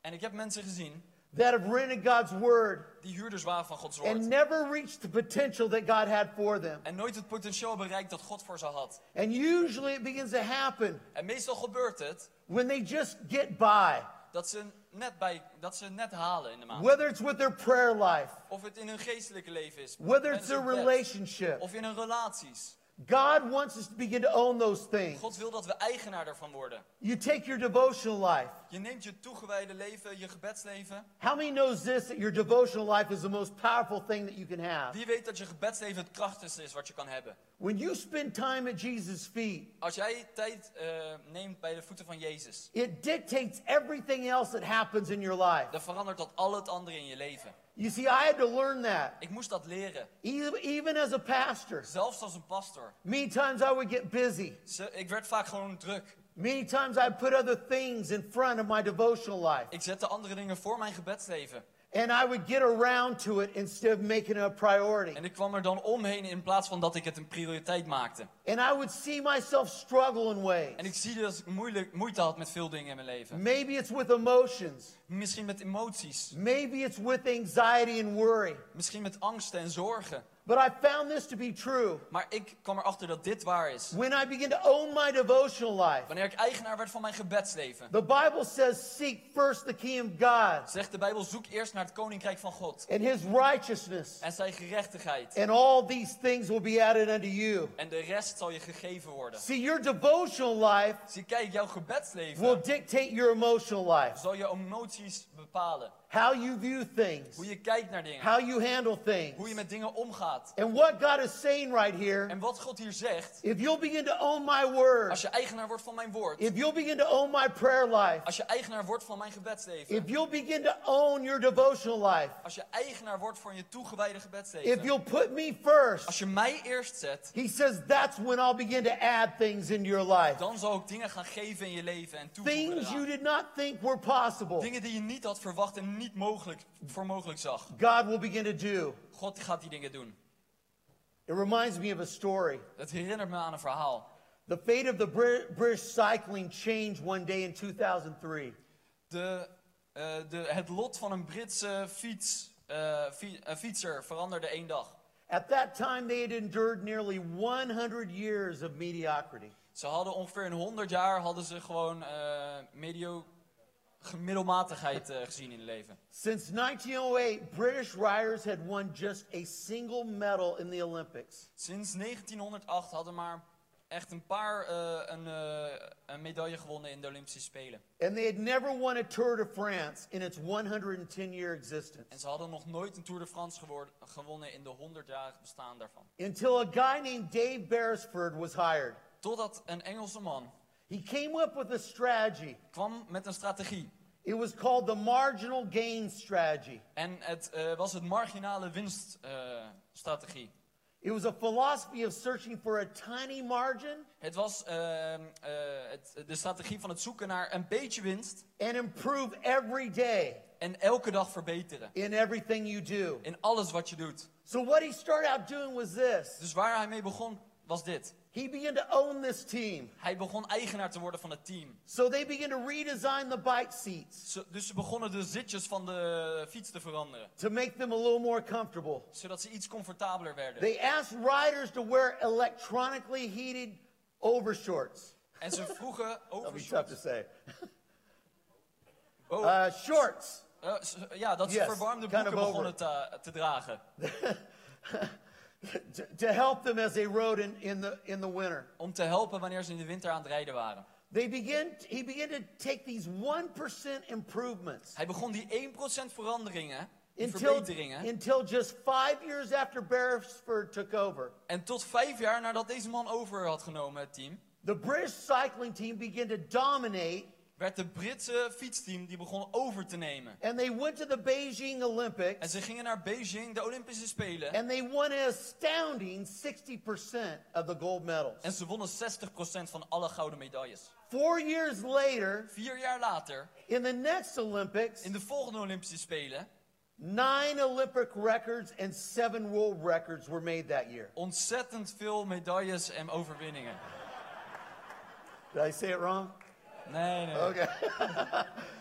[SPEAKER 3] En ik heb mensen gezien
[SPEAKER 2] that have rented God's word
[SPEAKER 3] die huurders waren van Gods woord.
[SPEAKER 2] and never reached the potential that God had for them.
[SPEAKER 3] En nooit het potentieel bereikt dat God voor ze had.
[SPEAKER 2] And usually it begins to happen
[SPEAKER 3] En meestal gebeurt het
[SPEAKER 2] when they just get by,
[SPEAKER 3] dat ze net, bij, dat ze net halen in de maand.
[SPEAKER 2] whether it's with their prayer life,
[SPEAKER 3] Of het in hun geestelijke leven is.
[SPEAKER 2] whether
[SPEAKER 3] tijdens
[SPEAKER 2] it's their
[SPEAKER 3] hun bed,
[SPEAKER 2] relationship.
[SPEAKER 3] Of in hun relaties.
[SPEAKER 2] God wants us to begin to own those things.
[SPEAKER 3] God wil dat we eigenaar daarvan worden.
[SPEAKER 2] You take your devotional life.
[SPEAKER 3] Je neemt je toegewijde leven, je gebedsleven.
[SPEAKER 2] How many knows this that your devotional life is the most powerful thing that you can have?
[SPEAKER 3] Wie weet dat je gebedsleven het krachtigste is wat je kan hebben.
[SPEAKER 2] When you spend time at Jesus' feet,
[SPEAKER 3] Als jij tijd eh, neemt bij de voeten van Jezus,
[SPEAKER 2] it dictates everything else that happens in your life.
[SPEAKER 3] dan verandert dat al het andere in je leven.
[SPEAKER 2] You see, I had to learn that.
[SPEAKER 3] Ik moest dat leren.
[SPEAKER 2] Even, even as a pastor,
[SPEAKER 3] Zelfs als een pastor.
[SPEAKER 2] many times I would get busy.
[SPEAKER 3] Ze- Ik werd vaak gewoon druk.
[SPEAKER 2] Many times I put other things in front of my devotional life,
[SPEAKER 3] Ik zette andere dingen voor mijn gebedsleven.
[SPEAKER 2] and I would get around to it instead of making it a priority.
[SPEAKER 3] En ik kwam er dan omheen in plaats van dat ik het een prioriteit maakte.
[SPEAKER 2] And I would see myself struggle in ways.
[SPEAKER 3] En ik zie dat ik moeilijk, moeite had met veel dingen in mijn leven.
[SPEAKER 2] Maybe it's with emotions,
[SPEAKER 3] Misschien met emoties.
[SPEAKER 2] maybe it's with anxiety and worry.
[SPEAKER 3] Misschien met angsten en zorgen.
[SPEAKER 2] But I found this to be true.
[SPEAKER 3] Maar ik kwam erachter dat dit waar is.
[SPEAKER 2] When I begin to own my devotional life,
[SPEAKER 3] Wanneer ik eigenaar werd van mijn gebedsleven,
[SPEAKER 2] the Bible says, Seek first the kingdom of God
[SPEAKER 3] zegt de Bijbel: zoek eerst naar het koninkrijk van God
[SPEAKER 2] and his righteousness,
[SPEAKER 3] en zijn gerechtigheid.
[SPEAKER 2] and all these things will be added unto you.
[SPEAKER 3] En de rest zal je gegeven worden.
[SPEAKER 2] See, your devotional life
[SPEAKER 3] Zie, kijk, jouw
[SPEAKER 2] will
[SPEAKER 3] gebedsleven
[SPEAKER 2] dictate your emotional life,
[SPEAKER 3] zal je emoties bepalen.
[SPEAKER 2] how you view things,
[SPEAKER 3] Hoe je kijkt naar dingen,
[SPEAKER 2] how you handle things.
[SPEAKER 3] hoe je met dingen omgaat. staat.
[SPEAKER 2] And what God is saying right here,
[SPEAKER 3] En wat God hier zegt,
[SPEAKER 2] if you'll begin to own my word,
[SPEAKER 3] als je eigenaar wordt van mijn woord,
[SPEAKER 2] if you'll begin to own my prayer life,
[SPEAKER 3] als je eigenaar wordt van mijn gebedsleven,
[SPEAKER 2] if you'll begin to own your devotional life,
[SPEAKER 3] als je eigenaar wordt van je toegewijde
[SPEAKER 2] if
[SPEAKER 3] gebedsleven,
[SPEAKER 2] you'll put me first,
[SPEAKER 3] als je mij eerst zet,
[SPEAKER 2] he says that's when I'll begin to add things into your life.
[SPEAKER 3] dan zal ik dingen gaan geven in je leven en toevoegen.
[SPEAKER 2] Things you
[SPEAKER 3] eraan.
[SPEAKER 2] did not think were possible,
[SPEAKER 3] Dingen die je niet had verwacht en niet mogelijk, voor mogelijk zag.
[SPEAKER 2] God will begin to do.
[SPEAKER 3] God gaat die dingen doen.
[SPEAKER 2] It reminds me of a story.
[SPEAKER 3] Dat herinnert me aan een verhaal.
[SPEAKER 2] The fate of the Bri- British cycling changed one day in 2003.
[SPEAKER 3] De, eh, de, het lot van een Britse fiets, eh, fi- eh, fietser veranderde één dag.
[SPEAKER 2] At that time, they had endured nearly 100 years of mediocrity.
[SPEAKER 3] Ze hadden ongeveer in 100 jaar hadden ze gewoon eh, medio, gemiddelmatigheid eh, gezien in het leven.
[SPEAKER 2] Since 1908, British riders had won just a single medal in the Olympics.
[SPEAKER 3] Sinds 1908 hadden maar echt een paar eh, een, eh, een medaille gewonnen in de Olympische Spelen.
[SPEAKER 2] And they had never won a Tour de France in its 110 year existence
[SPEAKER 3] En ze hadden nog nooit een Tour de France gewoor- gewonnen in de 100-jarig bestaan daarvan.
[SPEAKER 2] until a guy named Dave Beresford was hired.
[SPEAKER 3] Totdat een Engelse man
[SPEAKER 2] He came up with a strategy.
[SPEAKER 3] kwam met een strategie.
[SPEAKER 2] It was called the marginal gain strategy.
[SPEAKER 3] En het eh, was het marginale winststrategie.
[SPEAKER 2] It was a philosophy of searching for a tiny margin
[SPEAKER 3] het was ehm, eh, het, de strategie van het zoeken naar een beetje winst
[SPEAKER 2] and improve every day
[SPEAKER 3] en elke dag verbeteren.
[SPEAKER 2] in everything you do.
[SPEAKER 3] In alles wat je doet.
[SPEAKER 2] So what he started out doing was this.
[SPEAKER 3] Dus waar hij mee begon was dit.
[SPEAKER 2] He began to own this team.
[SPEAKER 3] Hij begon eigenaar te worden van het team.
[SPEAKER 2] So they began to redesign the bike seats
[SPEAKER 3] Ze- dus ze begonnen de zitjes van de fiets te veranderen.
[SPEAKER 2] to make them a little more comfortable.
[SPEAKER 3] Zodat ze iets comfortabeler werden.
[SPEAKER 2] They asked riders to wear electronically heated overshorts.
[SPEAKER 3] En ze vroegen
[SPEAKER 2] That'll
[SPEAKER 3] over
[SPEAKER 2] be tough to say.
[SPEAKER 3] Oh,
[SPEAKER 2] Uh, shorts.
[SPEAKER 3] eh, ze- ja, dat ze
[SPEAKER 2] yes,
[SPEAKER 3] verwarmde
[SPEAKER 2] kind
[SPEAKER 3] broeken
[SPEAKER 2] of over.
[SPEAKER 3] begonnen te, te dragen.
[SPEAKER 2] to, to help them as they rode in, in, the, in the winter.
[SPEAKER 3] Om te helpen wanneer ze in de winter aan het rijden waren.
[SPEAKER 2] They begin, he began to take these 1% improvements
[SPEAKER 3] Hij begon die 1% veranderingen, die
[SPEAKER 2] until,
[SPEAKER 3] verbeteringen.
[SPEAKER 2] until just five years after Beresford took over.
[SPEAKER 3] En tot vijf jaar nadat deze man over had genomen het team,
[SPEAKER 2] The British cycling team began to dominate,
[SPEAKER 3] werd de Britse fietsteam die begon over te nemen.
[SPEAKER 2] and they went to the Beijing
[SPEAKER 3] En
[SPEAKER 2] Olympics,
[SPEAKER 3] ze gingen naar Beijing, de Olympische Spelen.
[SPEAKER 2] and they won an astounding 60% of the gold medals.
[SPEAKER 3] En ze wonnen 60% van alle gouden medailles.
[SPEAKER 2] Four years later,
[SPEAKER 3] Vier jaar later,
[SPEAKER 2] in the next Olympics,
[SPEAKER 3] in de volgende Olympische Spelen,
[SPEAKER 2] nine Olympic records and seven world records were made that year.
[SPEAKER 3] ontzettend veel medailles en overwinningen.
[SPEAKER 2] Did I say it wrong?
[SPEAKER 3] Nee, nee.
[SPEAKER 2] Okay.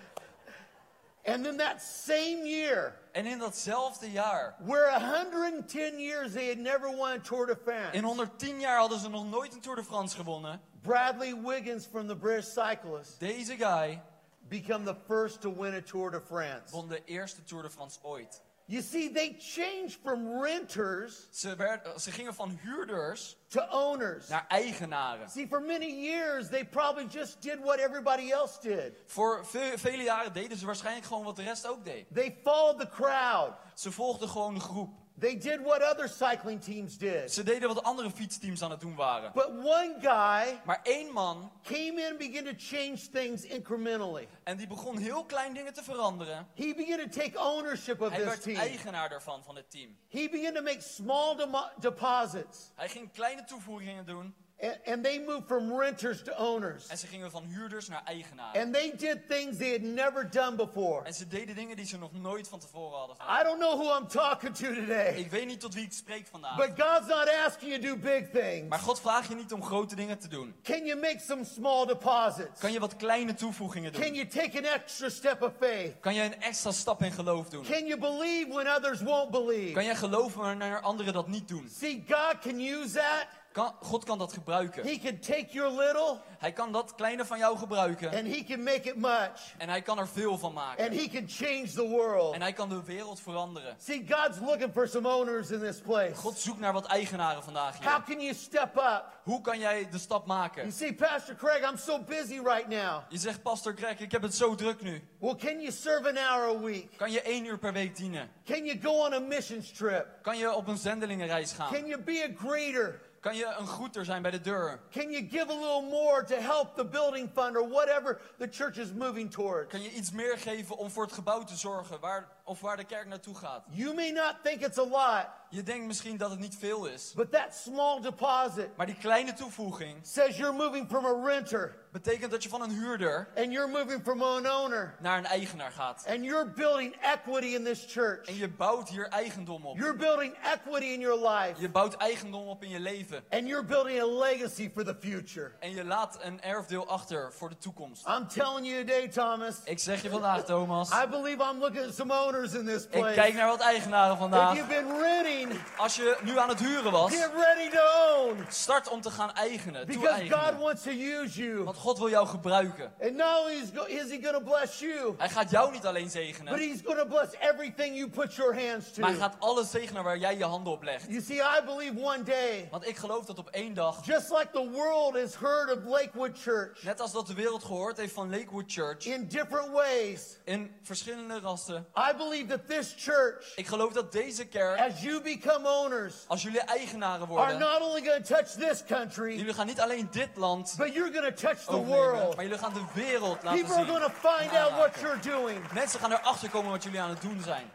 [SPEAKER 2] and then that same year,
[SPEAKER 3] En in datzelfde jaar,
[SPEAKER 2] where 110 years they had never won a Tour de France,
[SPEAKER 3] in 110 jaar hadden ze nog nooit een Tour de France gewonnen.
[SPEAKER 2] Bradley Wiggins from the British Cyclists
[SPEAKER 3] Deze guy
[SPEAKER 2] become the first to win a Tour de France.
[SPEAKER 3] won de eerste Tour de France ooit.
[SPEAKER 2] You see, they changed from renters
[SPEAKER 3] Ze, werd, ze gingen van huurders
[SPEAKER 2] to owners.
[SPEAKER 3] naar eigenaren.
[SPEAKER 2] See, for many years they probably just did what everybody else did.
[SPEAKER 3] Voor ve- vele jaren deden ze waarschijnlijk gewoon wat de rest ook deed.
[SPEAKER 2] They followed the crowd.
[SPEAKER 3] Ze volgden gewoon de groep.
[SPEAKER 2] They did what other cycling teams did.
[SPEAKER 3] Ze deden wat andere fietsteams aan het doen waren.
[SPEAKER 2] But one guy
[SPEAKER 3] Maar één man
[SPEAKER 2] came in and began to change things incrementally.
[SPEAKER 3] En die begon heel klein dingen te veranderen.
[SPEAKER 2] He began to take ownership of
[SPEAKER 3] Hij
[SPEAKER 2] this
[SPEAKER 3] werd
[SPEAKER 2] team.
[SPEAKER 3] eigenaar daarvan, van het team.
[SPEAKER 2] He began to make small demo- deposits,
[SPEAKER 3] Hij ging kleine toevoegingen doen.
[SPEAKER 2] and, and they moved from renters to owners.
[SPEAKER 3] En ze gingen van huurders naar eigenaren.
[SPEAKER 2] And they did things they had never done before.
[SPEAKER 3] En ze deden dingen die ze nog nooit van tevoren hadden gedaan.
[SPEAKER 2] I don't know who I'm talking to today,
[SPEAKER 3] Ik weet niet tot wie ik spreek vandaag.
[SPEAKER 2] but God's not asking you to do big things.
[SPEAKER 3] Maar God vraagt je niet om grote dingen te doen.
[SPEAKER 2] Can you make some small deposits?
[SPEAKER 3] Kan je wat kleine toevoegingen
[SPEAKER 2] Can
[SPEAKER 3] doen?
[SPEAKER 2] you take an extra step of faith?
[SPEAKER 3] Kan je een extra stap in geloof doen?
[SPEAKER 2] Can you believe when others won't believe?
[SPEAKER 3] Kan jij geloven wanneer anderen dat niet doen?
[SPEAKER 2] See, God can use that
[SPEAKER 3] Kan, God kan dat gebruiken.
[SPEAKER 2] He can take your little
[SPEAKER 3] Hij kan dat kleine van jou gebruiken.
[SPEAKER 2] and he can make it much.
[SPEAKER 3] En hij kan er veel van maken.
[SPEAKER 2] And he can change the world.
[SPEAKER 3] En hij kan de wereld veranderen.
[SPEAKER 2] See, God's looking for some owners in this place.
[SPEAKER 3] God zoekt naar wat eigenaren vandaag
[SPEAKER 2] How
[SPEAKER 3] hier.
[SPEAKER 2] can you step up?
[SPEAKER 3] Hoe kan jij de stap
[SPEAKER 2] You
[SPEAKER 3] maken?
[SPEAKER 2] see, Pastor Craig, I'm so busy right now.
[SPEAKER 3] Je zegt, pastor Greg, ik heb het zo druk nu.
[SPEAKER 2] Well, can you serve an hour a week?
[SPEAKER 3] Kan je één uur per week dienen?
[SPEAKER 2] Can you go on a missions trip?
[SPEAKER 3] Kan je op een zendelingenreis gaan?
[SPEAKER 2] Can you be a greeter?
[SPEAKER 3] Kan je een groeter zijn bij de deur?
[SPEAKER 2] Can you give a little more to help the building fund or whatever the church is moving toward?
[SPEAKER 3] Kan je iets meer geven om voor het gebouw te zorgen waar, of waar de kerk naartoe gaat?
[SPEAKER 2] You may not think it's a lot,
[SPEAKER 3] Je denkt misschien dat het niet veel is.
[SPEAKER 2] but that small deposit
[SPEAKER 3] Maar die kleine toevoeging
[SPEAKER 2] says you're moving from a renter
[SPEAKER 3] betekent dat je van een huurder
[SPEAKER 2] and you're moving from an owner
[SPEAKER 3] naar een eigenaar gaat.
[SPEAKER 2] and you're building equity in this church.
[SPEAKER 3] En je bouwt hier eigendom op.
[SPEAKER 2] You're building equity in your life
[SPEAKER 3] Je bouwt eigendom op in je leven.
[SPEAKER 2] and you're building a legacy for the future.
[SPEAKER 3] En je laat een erfdeel achter voor de toekomst.
[SPEAKER 2] I'm telling you today, Thomas,
[SPEAKER 3] Ik zeg je vandaag, Thomas.
[SPEAKER 2] I believe I'm looking at some owners in this
[SPEAKER 3] Ik
[SPEAKER 2] place.
[SPEAKER 3] kijk naar wat eigenaren
[SPEAKER 2] If
[SPEAKER 3] vandaag.
[SPEAKER 2] you've been renting,
[SPEAKER 3] Als je nu aan het huren was,
[SPEAKER 2] get ready to own
[SPEAKER 3] start om te gaan eigenen.
[SPEAKER 2] because God
[SPEAKER 3] toe
[SPEAKER 2] wants to use you.
[SPEAKER 3] Want God wil jou gebruiken.
[SPEAKER 2] And not only is, go- is he going to bless you,
[SPEAKER 3] Hij gaat jou niet alleen
[SPEAKER 2] but
[SPEAKER 3] zegenen,
[SPEAKER 2] he's going to bless everything you put your hands
[SPEAKER 3] maar hij
[SPEAKER 2] to.
[SPEAKER 3] gaat alles zegenen waar jij je handen op legt.
[SPEAKER 2] You see, I believe one day,
[SPEAKER 3] Want ik geloof dat op één dag,
[SPEAKER 2] just like the world has heard of Lakewood Church
[SPEAKER 3] net als dat de wereld gehoord heeft van Lakewood Church,
[SPEAKER 2] in different ways,
[SPEAKER 3] in verschillende rassen.
[SPEAKER 2] I believe that this church,
[SPEAKER 3] Ik geloof dat deze kerk,
[SPEAKER 2] as you become owners,
[SPEAKER 3] als jullie eigenaren
[SPEAKER 2] are
[SPEAKER 3] worden,
[SPEAKER 2] not only going to touch this country,
[SPEAKER 3] jullie gaan niet alleen dit land
[SPEAKER 2] but you're going to touch the
[SPEAKER 3] overnemen,
[SPEAKER 2] world.
[SPEAKER 3] maar jullie gaan de wereld laten
[SPEAKER 2] People are going to find out what
[SPEAKER 3] zien.
[SPEAKER 2] you're doing.
[SPEAKER 3] Mensen gaan erachter komen wat jullie aan het doen zijn.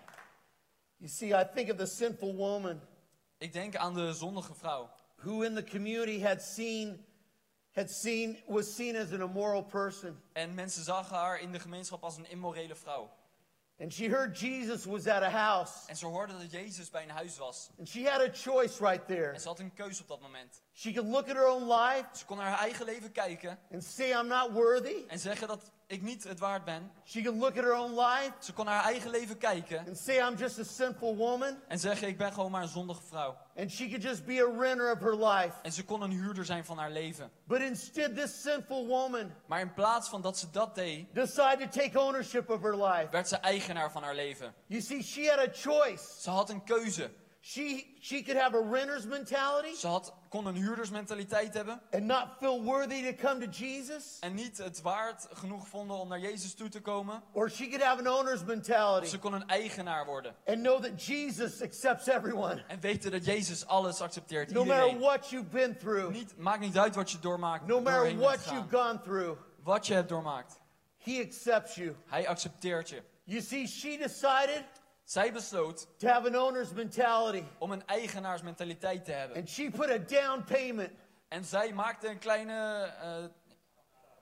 [SPEAKER 2] You see, I think of the sinful woman
[SPEAKER 3] Ik denk aan de zondige vrouw.
[SPEAKER 2] who in the community had seen had seen was seen as an immoral person
[SPEAKER 3] En mensen zagen haar in de gemeenschap als een immorele vrouw.
[SPEAKER 2] and she heard jesus was at a house
[SPEAKER 3] En ze hoorden dat Jezus bij een huis was.
[SPEAKER 2] and she had a choice right there
[SPEAKER 3] En ze had een keus op dat moment.
[SPEAKER 2] she could look at her own life
[SPEAKER 3] Ze kon naar haar eigen leven kijken
[SPEAKER 2] and say i'm not worthy
[SPEAKER 3] en zeggen dat ik niet het waard ben.
[SPEAKER 2] she could look at her own life
[SPEAKER 3] Ze kon naar haar eigen leven kijken
[SPEAKER 2] and say i'm just a sinful woman
[SPEAKER 3] en zeggen ik ben gewoon maar een zondige vrouw.
[SPEAKER 2] and she could just be a renter of her life
[SPEAKER 3] En ze kon een huurder zijn van haar leven.
[SPEAKER 2] but instead this sinful woman
[SPEAKER 3] Maar in plaats van dat ze dat deed,
[SPEAKER 2] decided to take ownership of her life
[SPEAKER 3] werd ze eigenaar van haar leven.
[SPEAKER 2] you see she had a choice
[SPEAKER 3] Ze had een keuze.
[SPEAKER 2] she she could have a renter's mentality
[SPEAKER 3] Ze had, kon een huurdersmentaliteit hebben
[SPEAKER 2] and not feel worthy to come to Jesus,
[SPEAKER 3] en niet het waard genoeg vonden om naar Jezus toe te komen.
[SPEAKER 2] or she could have an owner's
[SPEAKER 3] Of ze
[SPEAKER 2] mentality
[SPEAKER 3] kon een eigenaar worden
[SPEAKER 2] and know that Jesus accepts everyone,
[SPEAKER 3] en weten dat Jezus alles accepteert.
[SPEAKER 2] no matter
[SPEAKER 3] Iedereen.
[SPEAKER 2] what you've been through,
[SPEAKER 3] Niet, maakt niet uit wat je doormaakt.
[SPEAKER 2] no matter
[SPEAKER 3] doorheen bent
[SPEAKER 2] what
[SPEAKER 3] gegaan.
[SPEAKER 2] you've gone through.
[SPEAKER 3] Wat je hebt doormaakt.
[SPEAKER 2] He accepts you.
[SPEAKER 3] Hij accepteert je.
[SPEAKER 2] You see, she decided
[SPEAKER 3] Zij besloot
[SPEAKER 2] to have an owner's mentality,
[SPEAKER 3] om een eigenaarsmentaliteit te hebben.
[SPEAKER 2] and she put a down payment.
[SPEAKER 3] En zij maakte een kleine eh,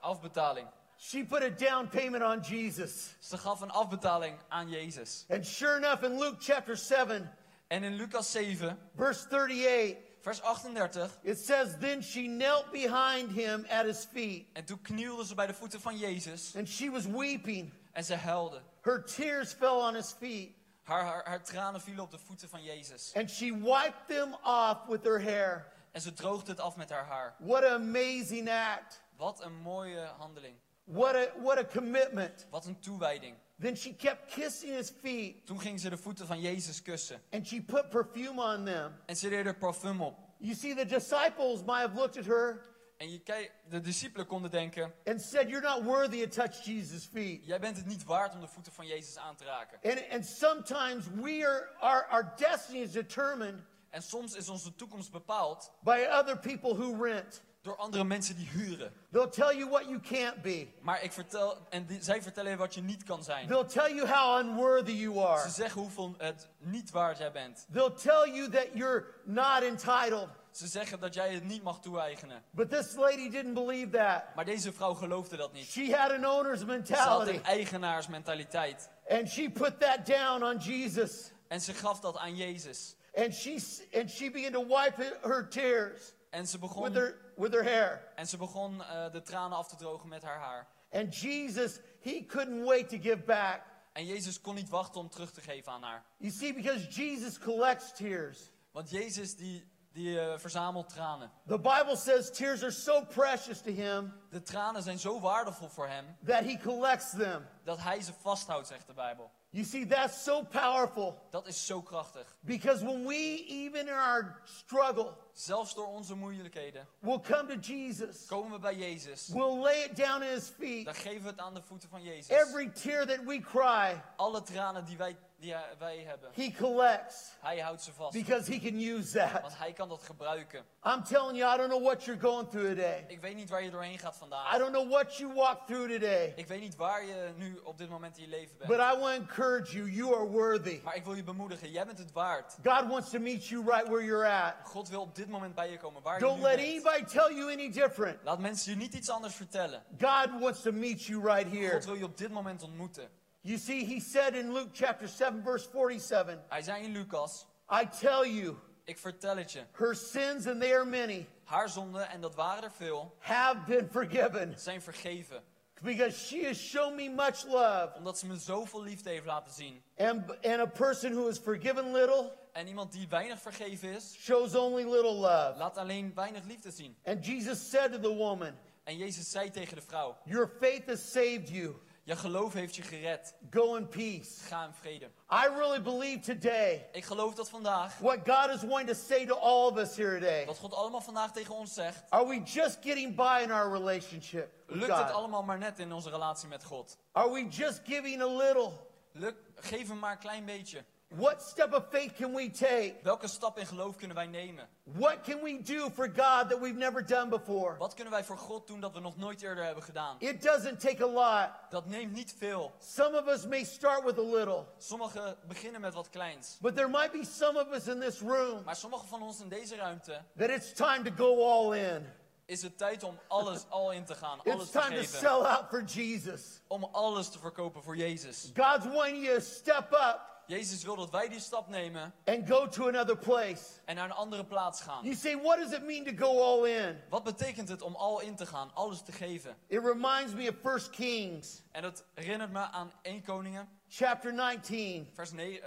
[SPEAKER 3] afbetaling.
[SPEAKER 2] She put a down payment on Jesus.
[SPEAKER 3] Ze gaf een afbetaling aan Jezus.
[SPEAKER 2] And sure enough, in Luke chapter 7,
[SPEAKER 3] En in Lucas 7,
[SPEAKER 2] verse 38,
[SPEAKER 3] vers 38.
[SPEAKER 2] it says, Then she knelt behind him at his feet,
[SPEAKER 3] En toen knielde ze bij de voeten van Jezus.
[SPEAKER 2] and she was weeping.
[SPEAKER 3] En ze huilde.
[SPEAKER 2] Her tears fell on his feet,
[SPEAKER 3] Haar, haar, haar tranen vielen op de voeten van Jezus.
[SPEAKER 2] and she wiped them off with her hair.
[SPEAKER 3] En ze droogde het af met haar haar.
[SPEAKER 2] What an amazing act.
[SPEAKER 3] Wat een mooie handeling.
[SPEAKER 2] What a, what a commitment.
[SPEAKER 3] Wat een toewijding.
[SPEAKER 2] Then she kept kissing his feet,
[SPEAKER 3] Toen ging ze de voeten van Jezus kussen.
[SPEAKER 2] and she put perfume on them.
[SPEAKER 3] En ze deed er parfum op.
[SPEAKER 2] You see, the disciples might have looked at her
[SPEAKER 3] En je kijk, de discipelen konden denken:
[SPEAKER 2] and said, You're not worthy to touch Jesus' feet.
[SPEAKER 3] Jij bent het niet waard om de voeten van Jezus aan te raken.
[SPEAKER 2] And, and sometimes we are, our, our destiny is determined
[SPEAKER 3] En soms is onze toekomst bepaald
[SPEAKER 2] by other people who rent.
[SPEAKER 3] door andere mensen die huren.
[SPEAKER 2] They'll tell you what you can't be.
[SPEAKER 3] Maar ik vertel, en die- zij vertellen je wat je niet kan zijn.
[SPEAKER 2] They'll tell you how unworthy you are.
[SPEAKER 3] Ze zeggen hoeveel het niet waard jij bent.
[SPEAKER 2] They'll tell you that you're not entitled.
[SPEAKER 3] Ze zeggen dat jij het niet mag toe-eigenen.
[SPEAKER 2] But this lady didn't believe that.
[SPEAKER 3] Maar deze vrouw geloofde dat niet.
[SPEAKER 2] She had an owner's
[SPEAKER 3] Ze had
[SPEAKER 2] mentality.
[SPEAKER 3] een eigenaarsmentaliteit.
[SPEAKER 2] And she put that down on Jesus.
[SPEAKER 3] En ze gaf dat aan Jezus.
[SPEAKER 2] And she, and she began to wipe her- her tears
[SPEAKER 3] En ze
[SPEAKER 2] with
[SPEAKER 3] begon,
[SPEAKER 2] her, with her hair.
[SPEAKER 3] en ze begon eh, de tranen af te drogen met haar haar.
[SPEAKER 2] And Jesus, he couldn't wait to give back.
[SPEAKER 3] En Jezus kon niet wachten om terug te geven aan haar.
[SPEAKER 2] You see, because Jesus collects tears.
[SPEAKER 3] Want Jezus die, die eh, verzamelt tranen.
[SPEAKER 2] The Bible says tears are so precious to him
[SPEAKER 3] De tranen zijn zo waardevol voor hem
[SPEAKER 2] that he collects them.
[SPEAKER 3] dat hij ze vasthoudt, zegt de Bijbel.
[SPEAKER 2] You see, that's so powerful
[SPEAKER 3] Dat is zo krachtig.
[SPEAKER 2] because when we, even in our struggle,
[SPEAKER 3] Zelfs door onze moeilijkheden
[SPEAKER 2] will come to Jesus,
[SPEAKER 3] komen we bij Jezus.
[SPEAKER 2] we'll lay it down at his feet.
[SPEAKER 3] Dan geven we het aan de voeten van Jezus.
[SPEAKER 2] Every tear that we cry,
[SPEAKER 3] Alle tranen die wij, die hij- wij hebben,
[SPEAKER 2] he collects
[SPEAKER 3] hij houdt ze vast.
[SPEAKER 2] because he can use that.
[SPEAKER 3] Want hij kan dat gebruiken.
[SPEAKER 2] I'm telling you, I don't know what you're going through today.
[SPEAKER 3] Ik weet niet waar je doorheen gaat
[SPEAKER 2] I
[SPEAKER 3] vandaag.
[SPEAKER 2] don't know what you walk through today.
[SPEAKER 3] Ik weet niet waar je nu op dit moment in je leven
[SPEAKER 2] But
[SPEAKER 3] bent.
[SPEAKER 2] I want to encourage you. You are worthy.
[SPEAKER 3] Maar ik wil je bemoedigen. Jij bent het waard.
[SPEAKER 2] God wants to meet you right where you're at.
[SPEAKER 3] God wil op dit moment bij je komen. Waar je
[SPEAKER 2] Don't
[SPEAKER 3] nu
[SPEAKER 2] let
[SPEAKER 3] bent.
[SPEAKER 2] anybody tell you any different.
[SPEAKER 3] Laat mensen je niet iets anders vertellen.
[SPEAKER 2] God wants to meet you right here.
[SPEAKER 3] God wil je op dit moment ontmoeten.
[SPEAKER 2] You see, he said in Luke chapter 7, verse 47,
[SPEAKER 3] Hij zei in Lucas,
[SPEAKER 2] I tell you,
[SPEAKER 3] ik vertel het je.
[SPEAKER 2] her sins, and they are many,
[SPEAKER 3] Haar zonden, en dat waren er veel,
[SPEAKER 2] have been forgiven
[SPEAKER 3] zijn vergeven.
[SPEAKER 2] because she has shown me much love.
[SPEAKER 3] Omdat ze me zoveel liefde heeft laten zien.
[SPEAKER 2] And, and a person who is forgiven little
[SPEAKER 3] En iemand die weinig vergeven is,
[SPEAKER 2] shows only little love.
[SPEAKER 3] laat alleen weinig liefde zien.
[SPEAKER 2] And Jesus said to the woman,
[SPEAKER 3] En Jezus zei tegen de vrouw,
[SPEAKER 2] Your faith has saved you.
[SPEAKER 3] je geloof heeft je gered.
[SPEAKER 2] Go in peace.
[SPEAKER 3] Ga in vrede.
[SPEAKER 2] I really believe today
[SPEAKER 3] Ik geloof dat vandaag,
[SPEAKER 2] what God is wanting to say to all of us here today.
[SPEAKER 3] wat God allemaal vandaag tegen ons zegt,
[SPEAKER 2] Are we just getting by in our relationship with
[SPEAKER 3] lukt het
[SPEAKER 2] God?
[SPEAKER 3] allemaal maar net in onze relatie met God.
[SPEAKER 2] Are we just giving a little?
[SPEAKER 3] Lukt, geef hem maar een klein beetje.
[SPEAKER 2] What step of faith can we take?
[SPEAKER 3] Welke stap in geloof kunnen wij nemen?
[SPEAKER 2] What can we do for God that we've never done before?
[SPEAKER 3] Wat kunnen wij voor God doen dat we nog nooit eerder hebben gedaan?
[SPEAKER 2] It doesn't take a lot.
[SPEAKER 3] Dat neemt niet veel.
[SPEAKER 2] Some of us may start with a little,
[SPEAKER 3] Sommigen beginnen met wat kleins.
[SPEAKER 2] but there might be some of us in this room
[SPEAKER 3] Maar sommigen van ons in deze ruimte
[SPEAKER 2] that it's time to go all in.
[SPEAKER 3] is het tijd om alles al in te gaan.
[SPEAKER 2] It's
[SPEAKER 3] Alles te
[SPEAKER 2] time to
[SPEAKER 3] geven.
[SPEAKER 2] sell out for Jesus.
[SPEAKER 3] Om alles te verkopen voor Jezus.
[SPEAKER 2] God's wanting you to step up
[SPEAKER 3] Jezus wil dat wij die stap nemen
[SPEAKER 2] and go to another place.
[SPEAKER 3] en naar een andere plaats gaan.
[SPEAKER 2] You say, what does it mean to go all in?
[SPEAKER 3] Wat betekent het om al in te gaan, alles te geven?
[SPEAKER 2] It reminds me of 1 Kings
[SPEAKER 3] En dat herinnert me aan 1 Koningen,
[SPEAKER 2] chapter 19.
[SPEAKER 3] vers ne-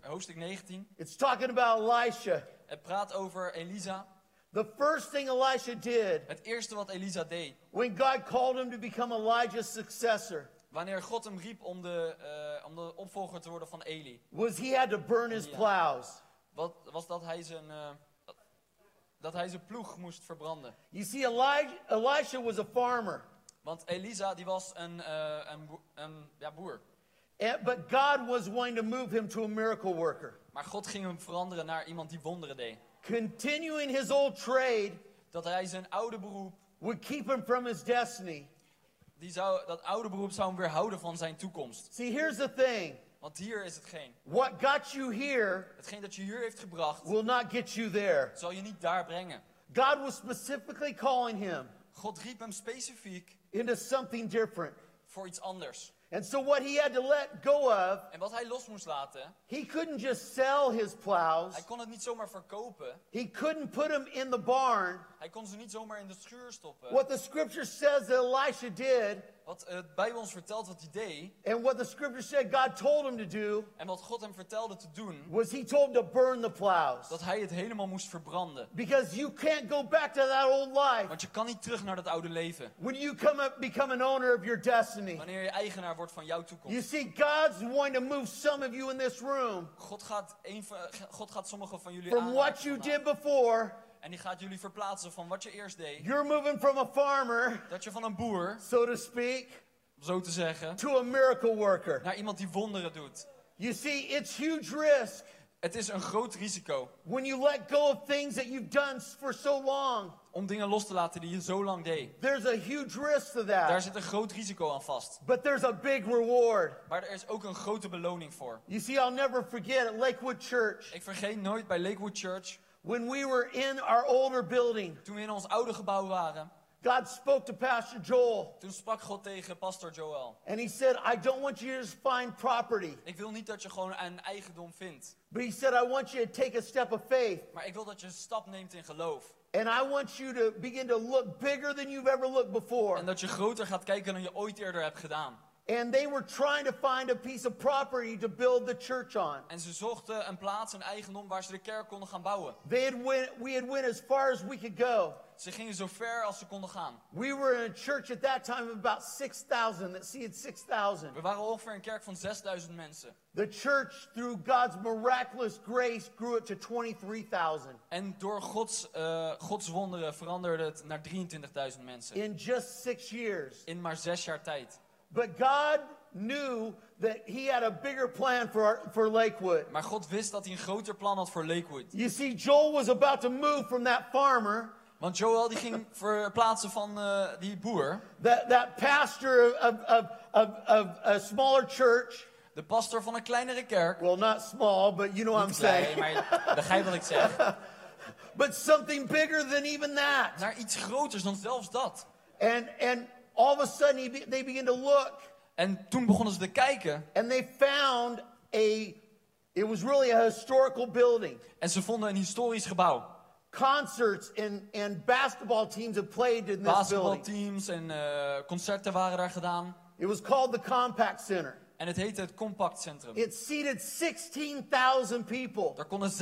[SPEAKER 3] eh, hoofdstuk 19.
[SPEAKER 2] It's talking about Elisha.
[SPEAKER 3] Het praat over Elisa.
[SPEAKER 2] The first thing Elisha did
[SPEAKER 3] Het eerste wat Elisa deed,
[SPEAKER 2] when God called him to become Elijah's successor
[SPEAKER 3] wanneer God hem riep om de, eh, om de opvolger te worden van Eli,
[SPEAKER 2] was he had to burn his
[SPEAKER 3] Yeah.
[SPEAKER 2] plows.
[SPEAKER 3] wat, was dat hij zijn, eh, dat- dat hij zijn ploeg moest verbranden.
[SPEAKER 2] You see, Elijah, Elisha was a farmer,
[SPEAKER 3] Want Elisa die was een, eh, een, boer, een ja, boer.
[SPEAKER 2] and- but God was wanting to move him to a miracle worker.
[SPEAKER 3] Maar God ging hem veranderen naar iemand die wonderen deed.
[SPEAKER 2] Continuing his old trade
[SPEAKER 3] Dat hij zijn oude beroep,
[SPEAKER 2] would keep him from his destiny.
[SPEAKER 3] die zou, dat oude beroep zou hem weerhouden van zijn toekomst.
[SPEAKER 2] See, here's the thing
[SPEAKER 3] Want hier is hetgeen.
[SPEAKER 2] what got you here
[SPEAKER 3] Hetgeen dat je hier heeft gebracht,
[SPEAKER 2] will not get you there.
[SPEAKER 3] zal je niet daar brengen.
[SPEAKER 2] God was specifically calling him
[SPEAKER 3] God riep hem specifiek
[SPEAKER 2] into something different.
[SPEAKER 3] voor iets anders.
[SPEAKER 2] And so, what he had to let go of,
[SPEAKER 3] En wat hij los moest laten,
[SPEAKER 2] he couldn't just sell his plows,
[SPEAKER 3] hij kon het niet zomaar verkopen.
[SPEAKER 2] he couldn't put them in the barn.
[SPEAKER 3] Hij kon ze niet zomaar in de schuur stoppen.
[SPEAKER 2] What the scripture says that Elisha did,
[SPEAKER 3] Wat het bij ons vertelt wat hij deed
[SPEAKER 2] and what the scripture said God told him to do,
[SPEAKER 3] en wat God hem vertelde te doen,
[SPEAKER 2] was he told him to burn the plows.
[SPEAKER 3] dat hij het helemaal moest verbranden.
[SPEAKER 2] Because you can't go back to that old life
[SPEAKER 3] Want je kan niet terug naar dat oude leven.
[SPEAKER 2] when you come up, become an owner of your destiny.
[SPEAKER 3] Wanneer je eigenaar wordt van jouw
[SPEAKER 2] You
[SPEAKER 3] toekomst.
[SPEAKER 2] see, God's wanting to move some of you in this room
[SPEAKER 3] God gaat, een van, God gaat sommigen van jullie
[SPEAKER 2] from
[SPEAKER 3] aanraken
[SPEAKER 2] what you
[SPEAKER 3] vandaag.
[SPEAKER 2] did before.
[SPEAKER 3] En die gaat jullie verplaatsen van wat je eerst deed.
[SPEAKER 2] You're moving from a farmer,
[SPEAKER 3] Dat je van een boer,
[SPEAKER 2] so to speak,
[SPEAKER 3] zo te zeggen,
[SPEAKER 2] to a miracle worker.
[SPEAKER 3] naar iemand die wonderen doet.
[SPEAKER 2] You see, it's huge risk
[SPEAKER 3] Het is een groot risico
[SPEAKER 2] when you let go of things that you've done for so long.
[SPEAKER 3] om dingen los te laten die je zo lang deed.
[SPEAKER 2] There's a huge risk to that.
[SPEAKER 3] Daar zit een groot risico aan vast.
[SPEAKER 2] But there's a big reward.
[SPEAKER 3] Maar er is ook een grote beloning voor.
[SPEAKER 2] You see, I'll never forget at Lakewood Church
[SPEAKER 3] Ik vergeet nooit bij Lakewood Church,
[SPEAKER 2] when we were in our older building,
[SPEAKER 3] toen we in ons oude gebouw waren,
[SPEAKER 2] God spoke to Pastor Joel
[SPEAKER 3] toen sprak God tegen pastor Joel.
[SPEAKER 2] and he said, I don't want you to just find property,
[SPEAKER 3] Ik wil niet dat je gewoon een eigendom vindt,
[SPEAKER 2] but he said, I want you to take a step of faith
[SPEAKER 3] maar ik wil dat je een stap neemt in geloof.
[SPEAKER 2] and I want you to begin to look bigger than you've ever looked before.
[SPEAKER 3] En dat je groter gaat kijken dan je ooit eerder hebt gedaan.
[SPEAKER 2] And they were trying to find a piece of property to build the church on.
[SPEAKER 3] En ze zochten een plaats, een eigendom waar ze de kerk konden gaan bouwen.
[SPEAKER 2] They had went, we had went as far as we could go.
[SPEAKER 3] Ze gingen zo ver als ze konden gaan.
[SPEAKER 2] We were in a church at that time of about 6,000 that seated 6,000.
[SPEAKER 3] We waren ongeveer een kerk van 6000 mensen.
[SPEAKER 2] The church, through God's miraculous grace, grew it to 23,000
[SPEAKER 3] En door Gods, eh, Gods wonderen veranderde het naar 23.000 mensen.
[SPEAKER 2] in just six years.
[SPEAKER 3] In maar zes jaar tijd.
[SPEAKER 2] But God knew that He had a bigger plan for, our, for Lakewood.
[SPEAKER 3] Maar God wist dat hij een groter plan had voor Lakewood.
[SPEAKER 2] You see, Joel was about to move from that farmer,
[SPEAKER 3] Want Joel die ging verplaatsen van eh, die boer.
[SPEAKER 2] that, that pastor of, of, of, of a smaller church.
[SPEAKER 3] De pastor van een kleinere kerk.
[SPEAKER 2] Well, not small, but you know what I'm
[SPEAKER 3] Niet klein,
[SPEAKER 2] saying.
[SPEAKER 3] maar begrijp wat ik zeg.
[SPEAKER 2] But something bigger than even that.
[SPEAKER 3] Naar iets groters dan zelfs dat.
[SPEAKER 2] And and all of a sudden he be, they begin to look
[SPEAKER 3] En toen begonnen ze te kijken.
[SPEAKER 2] and they found a it was really a historical building.
[SPEAKER 3] En ze vonden een historisch gebouw.
[SPEAKER 2] Concerts and and basketball teams have played in this building.
[SPEAKER 3] Basketbalteams en eh, concerten waren daar gedaan.
[SPEAKER 2] It was called the Compact Center.
[SPEAKER 3] En het heette het Compact Centrum.
[SPEAKER 2] It seated 16,000 people.
[SPEAKER 3] Daar konden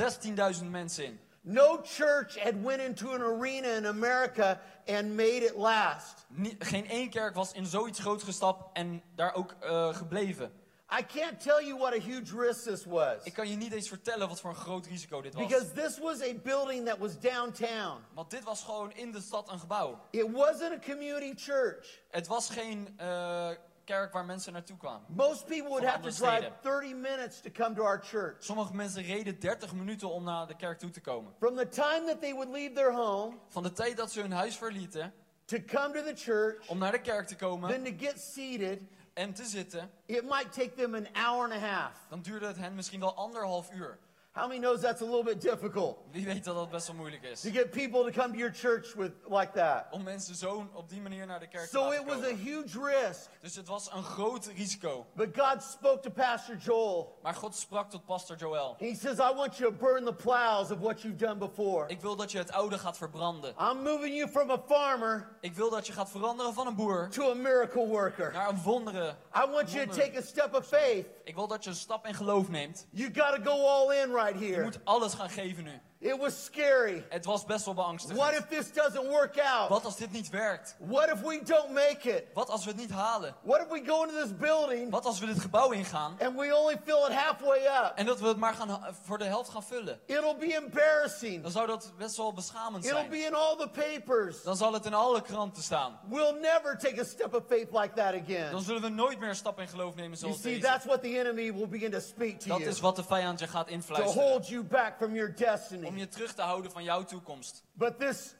[SPEAKER 3] 16.000 mensen in.
[SPEAKER 2] No church had went into an arena in America and made it last.
[SPEAKER 3] Nie- geen één kerk was in zoiets groot gestapt en daar ook eh, gebleven.
[SPEAKER 2] I can't tell you what a huge risk this was.
[SPEAKER 3] Ik kan je niet eens vertellen wat voor een groot risico dit was.
[SPEAKER 2] Because this was a building that was downtown.
[SPEAKER 3] Want dit was gewoon in de stad een gebouw.
[SPEAKER 2] It wasn't a community church.
[SPEAKER 3] Het was geen eh, kerk waar mensen naartoe kwamen.
[SPEAKER 2] Most people would
[SPEAKER 3] Van
[SPEAKER 2] have to
[SPEAKER 3] andere
[SPEAKER 2] drive 30
[SPEAKER 3] steden.
[SPEAKER 2] minutes to come to our church.
[SPEAKER 3] Sommige mensen reden 30 minuten om naar de kerk toe te komen.
[SPEAKER 2] From the time that they would leave their home
[SPEAKER 3] Van de tijd dat ze hun huis verlieten
[SPEAKER 2] to come to the church,
[SPEAKER 3] om naar de kerk te komen
[SPEAKER 2] then to get seated,
[SPEAKER 3] en te zitten,
[SPEAKER 2] it might take them an hour and a half.
[SPEAKER 3] dan duurde het hen misschien wel anderhalf uur.
[SPEAKER 2] How many knows that's a little bit difficult
[SPEAKER 3] Wie weet dat dat best wel moeilijk is.
[SPEAKER 2] to get people to come to your church with like that?
[SPEAKER 3] Om mensen zo op die manier naar de kerk te
[SPEAKER 2] So
[SPEAKER 3] laten
[SPEAKER 2] it was a
[SPEAKER 3] komen.
[SPEAKER 2] huge risk.
[SPEAKER 3] Dus het was een groot risico.
[SPEAKER 2] But God spoke to Pastor Joel.
[SPEAKER 3] Maar God sprak tot pastor Joel.
[SPEAKER 2] He says, I want you to burn the plows of what you've done before.
[SPEAKER 3] Ik wil dat je het oude gaat verbranden.
[SPEAKER 2] I'm moving you from a farmer
[SPEAKER 3] Ik wil dat je gaat veranderen van een boer
[SPEAKER 2] to a miracle worker.
[SPEAKER 3] naar een wonderen.
[SPEAKER 2] I want you to take a step of faith.
[SPEAKER 3] Ik wil dat je een stap in geloof neemt.
[SPEAKER 2] You got to go all in right
[SPEAKER 3] Je
[SPEAKER 2] here.
[SPEAKER 3] moet alles gaan geven nu.
[SPEAKER 2] It was scary.
[SPEAKER 3] Het was best wel
[SPEAKER 2] What
[SPEAKER 3] beangstigend.
[SPEAKER 2] if this doesn't work out?
[SPEAKER 3] Wat als dit niet werkt?
[SPEAKER 2] What if we don't make it?
[SPEAKER 3] Wat als we het niet halen?
[SPEAKER 2] What if we go into this building
[SPEAKER 3] Wat als we dit gebouw ingaan
[SPEAKER 2] and we only fill it halfway up?
[SPEAKER 3] en dat we het maar gaan, voor de helft gaan vullen?
[SPEAKER 2] It'll be embarrassing.
[SPEAKER 3] Dan zou dat best wel beschamend
[SPEAKER 2] It'll
[SPEAKER 3] zijn.
[SPEAKER 2] be in all the papers.
[SPEAKER 3] Dan zal het in alle kranten staan.
[SPEAKER 2] We'll never take a step of faith like that
[SPEAKER 3] Dan
[SPEAKER 2] again.
[SPEAKER 3] zullen we nooit meer een stap in geloof nemen
[SPEAKER 2] You
[SPEAKER 3] zoals
[SPEAKER 2] see,
[SPEAKER 3] deze.
[SPEAKER 2] that's what the enemy will begin to speak to
[SPEAKER 3] Dat
[SPEAKER 2] you
[SPEAKER 3] is wat de vijand je gaat
[SPEAKER 2] to
[SPEAKER 3] influisteren.
[SPEAKER 2] hold you back from your
[SPEAKER 3] Om
[SPEAKER 2] destiny.
[SPEAKER 3] je terug te houden van jouw toekomst.
[SPEAKER 2] But this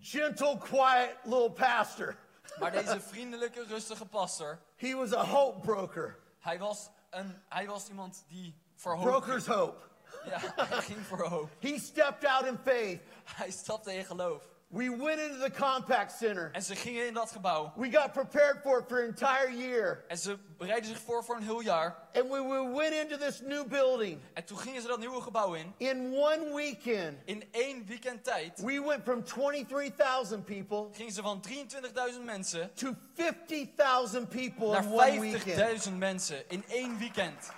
[SPEAKER 2] gentle, quiet little pastor,
[SPEAKER 3] Maar deze vriendelijke, rustige pastor,
[SPEAKER 2] he was a hope broker.
[SPEAKER 3] hij was, een, hij was iemand die voor hoop
[SPEAKER 2] Broker's hope.
[SPEAKER 3] Ja, hij ging voor hoop.
[SPEAKER 2] He stepped out in faith.
[SPEAKER 3] Hij stapte in geloof.
[SPEAKER 2] We went into the compact center.
[SPEAKER 3] En ze gingen in dat gebouw.
[SPEAKER 2] We got prepared for it for an entire year.
[SPEAKER 3] En ze bereidden zich voor voor een heel jaar.
[SPEAKER 2] And when we went into this new building,
[SPEAKER 3] En toen gingen ze dat nieuwe gebouw in.
[SPEAKER 2] in one weekend,
[SPEAKER 3] In één weekend tijd
[SPEAKER 2] we went from 23,000 people
[SPEAKER 3] gingen ze van 23.000 mensen
[SPEAKER 2] to 50,000 people
[SPEAKER 3] naar
[SPEAKER 2] in one weekend.
[SPEAKER 3] 50.000 mensen. In één weekend.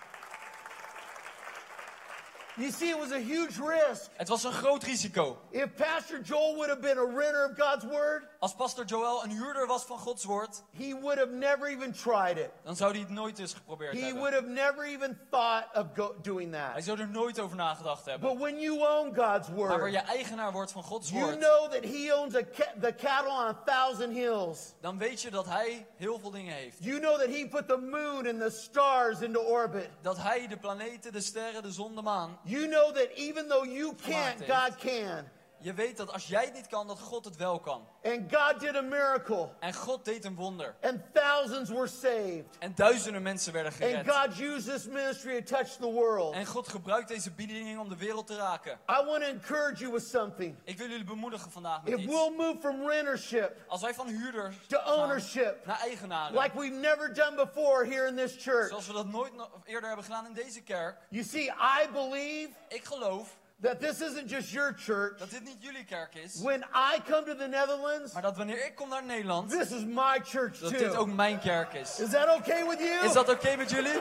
[SPEAKER 2] You see, it was a huge risk.
[SPEAKER 3] Het was een groot risico.
[SPEAKER 2] If Pastor Joel would have been a renter of God's word,
[SPEAKER 3] Als pastor Joel een huurder was van Gods woord,
[SPEAKER 2] he would have never even tried it.
[SPEAKER 3] dan zou hij het nooit eens geprobeerd
[SPEAKER 2] He
[SPEAKER 3] hebben.
[SPEAKER 2] would have never even thought of go- doing
[SPEAKER 3] Hij
[SPEAKER 2] that.
[SPEAKER 3] zou er nooit over nagedacht hebben.
[SPEAKER 2] But when you own God's
[SPEAKER 3] Maar waar
[SPEAKER 2] word,
[SPEAKER 3] je eigenaar wordt van Gods
[SPEAKER 2] You
[SPEAKER 3] woord,
[SPEAKER 2] know that he owns a ca- the cattle on a thousand hills.
[SPEAKER 3] dan weet je dat hij heel veel dingen heeft.
[SPEAKER 2] You know that he put the moon and the stars into orbit.
[SPEAKER 3] dat hij de planeten, de sterren, de zon, de maan.
[SPEAKER 2] You know that even though you can't,
[SPEAKER 3] heeft.
[SPEAKER 2] God can.
[SPEAKER 3] Je weet dat als jij het niet kan, dat God het wel kan.
[SPEAKER 2] And God did a miracle,
[SPEAKER 3] En God deed een wonder.
[SPEAKER 2] and thousands were saved.
[SPEAKER 3] En duizenden mensen werden
[SPEAKER 2] And
[SPEAKER 3] gered.
[SPEAKER 2] God used this ministry to touch the world.
[SPEAKER 3] En God gebruikt deze bediening om de wereld te raken.
[SPEAKER 2] I want to encourage you with something.
[SPEAKER 3] Ik wil jullie bemoedigen vandaag met
[SPEAKER 2] If
[SPEAKER 3] iets.
[SPEAKER 2] we'll move from rentership
[SPEAKER 3] Als wij van huurders
[SPEAKER 2] to
[SPEAKER 3] gaan
[SPEAKER 2] ownership,
[SPEAKER 3] naar eigenaren,
[SPEAKER 2] like we've never done before here in this church,
[SPEAKER 3] zoals we dat nooit no- eerder hebben gedaan in deze kerk.
[SPEAKER 2] you see, I believe
[SPEAKER 3] Ik geloof
[SPEAKER 2] that this isn't just your church.
[SPEAKER 3] Dat dit niet jullie kerk is.
[SPEAKER 2] When I come to the Netherlands,
[SPEAKER 3] Maar dat wanneer ik kom naar Nederland,
[SPEAKER 2] this is my church
[SPEAKER 3] dat dit ook
[SPEAKER 2] too.
[SPEAKER 3] mijn kerk is.
[SPEAKER 2] Is that okay with you?
[SPEAKER 3] Is dat oké met jullie?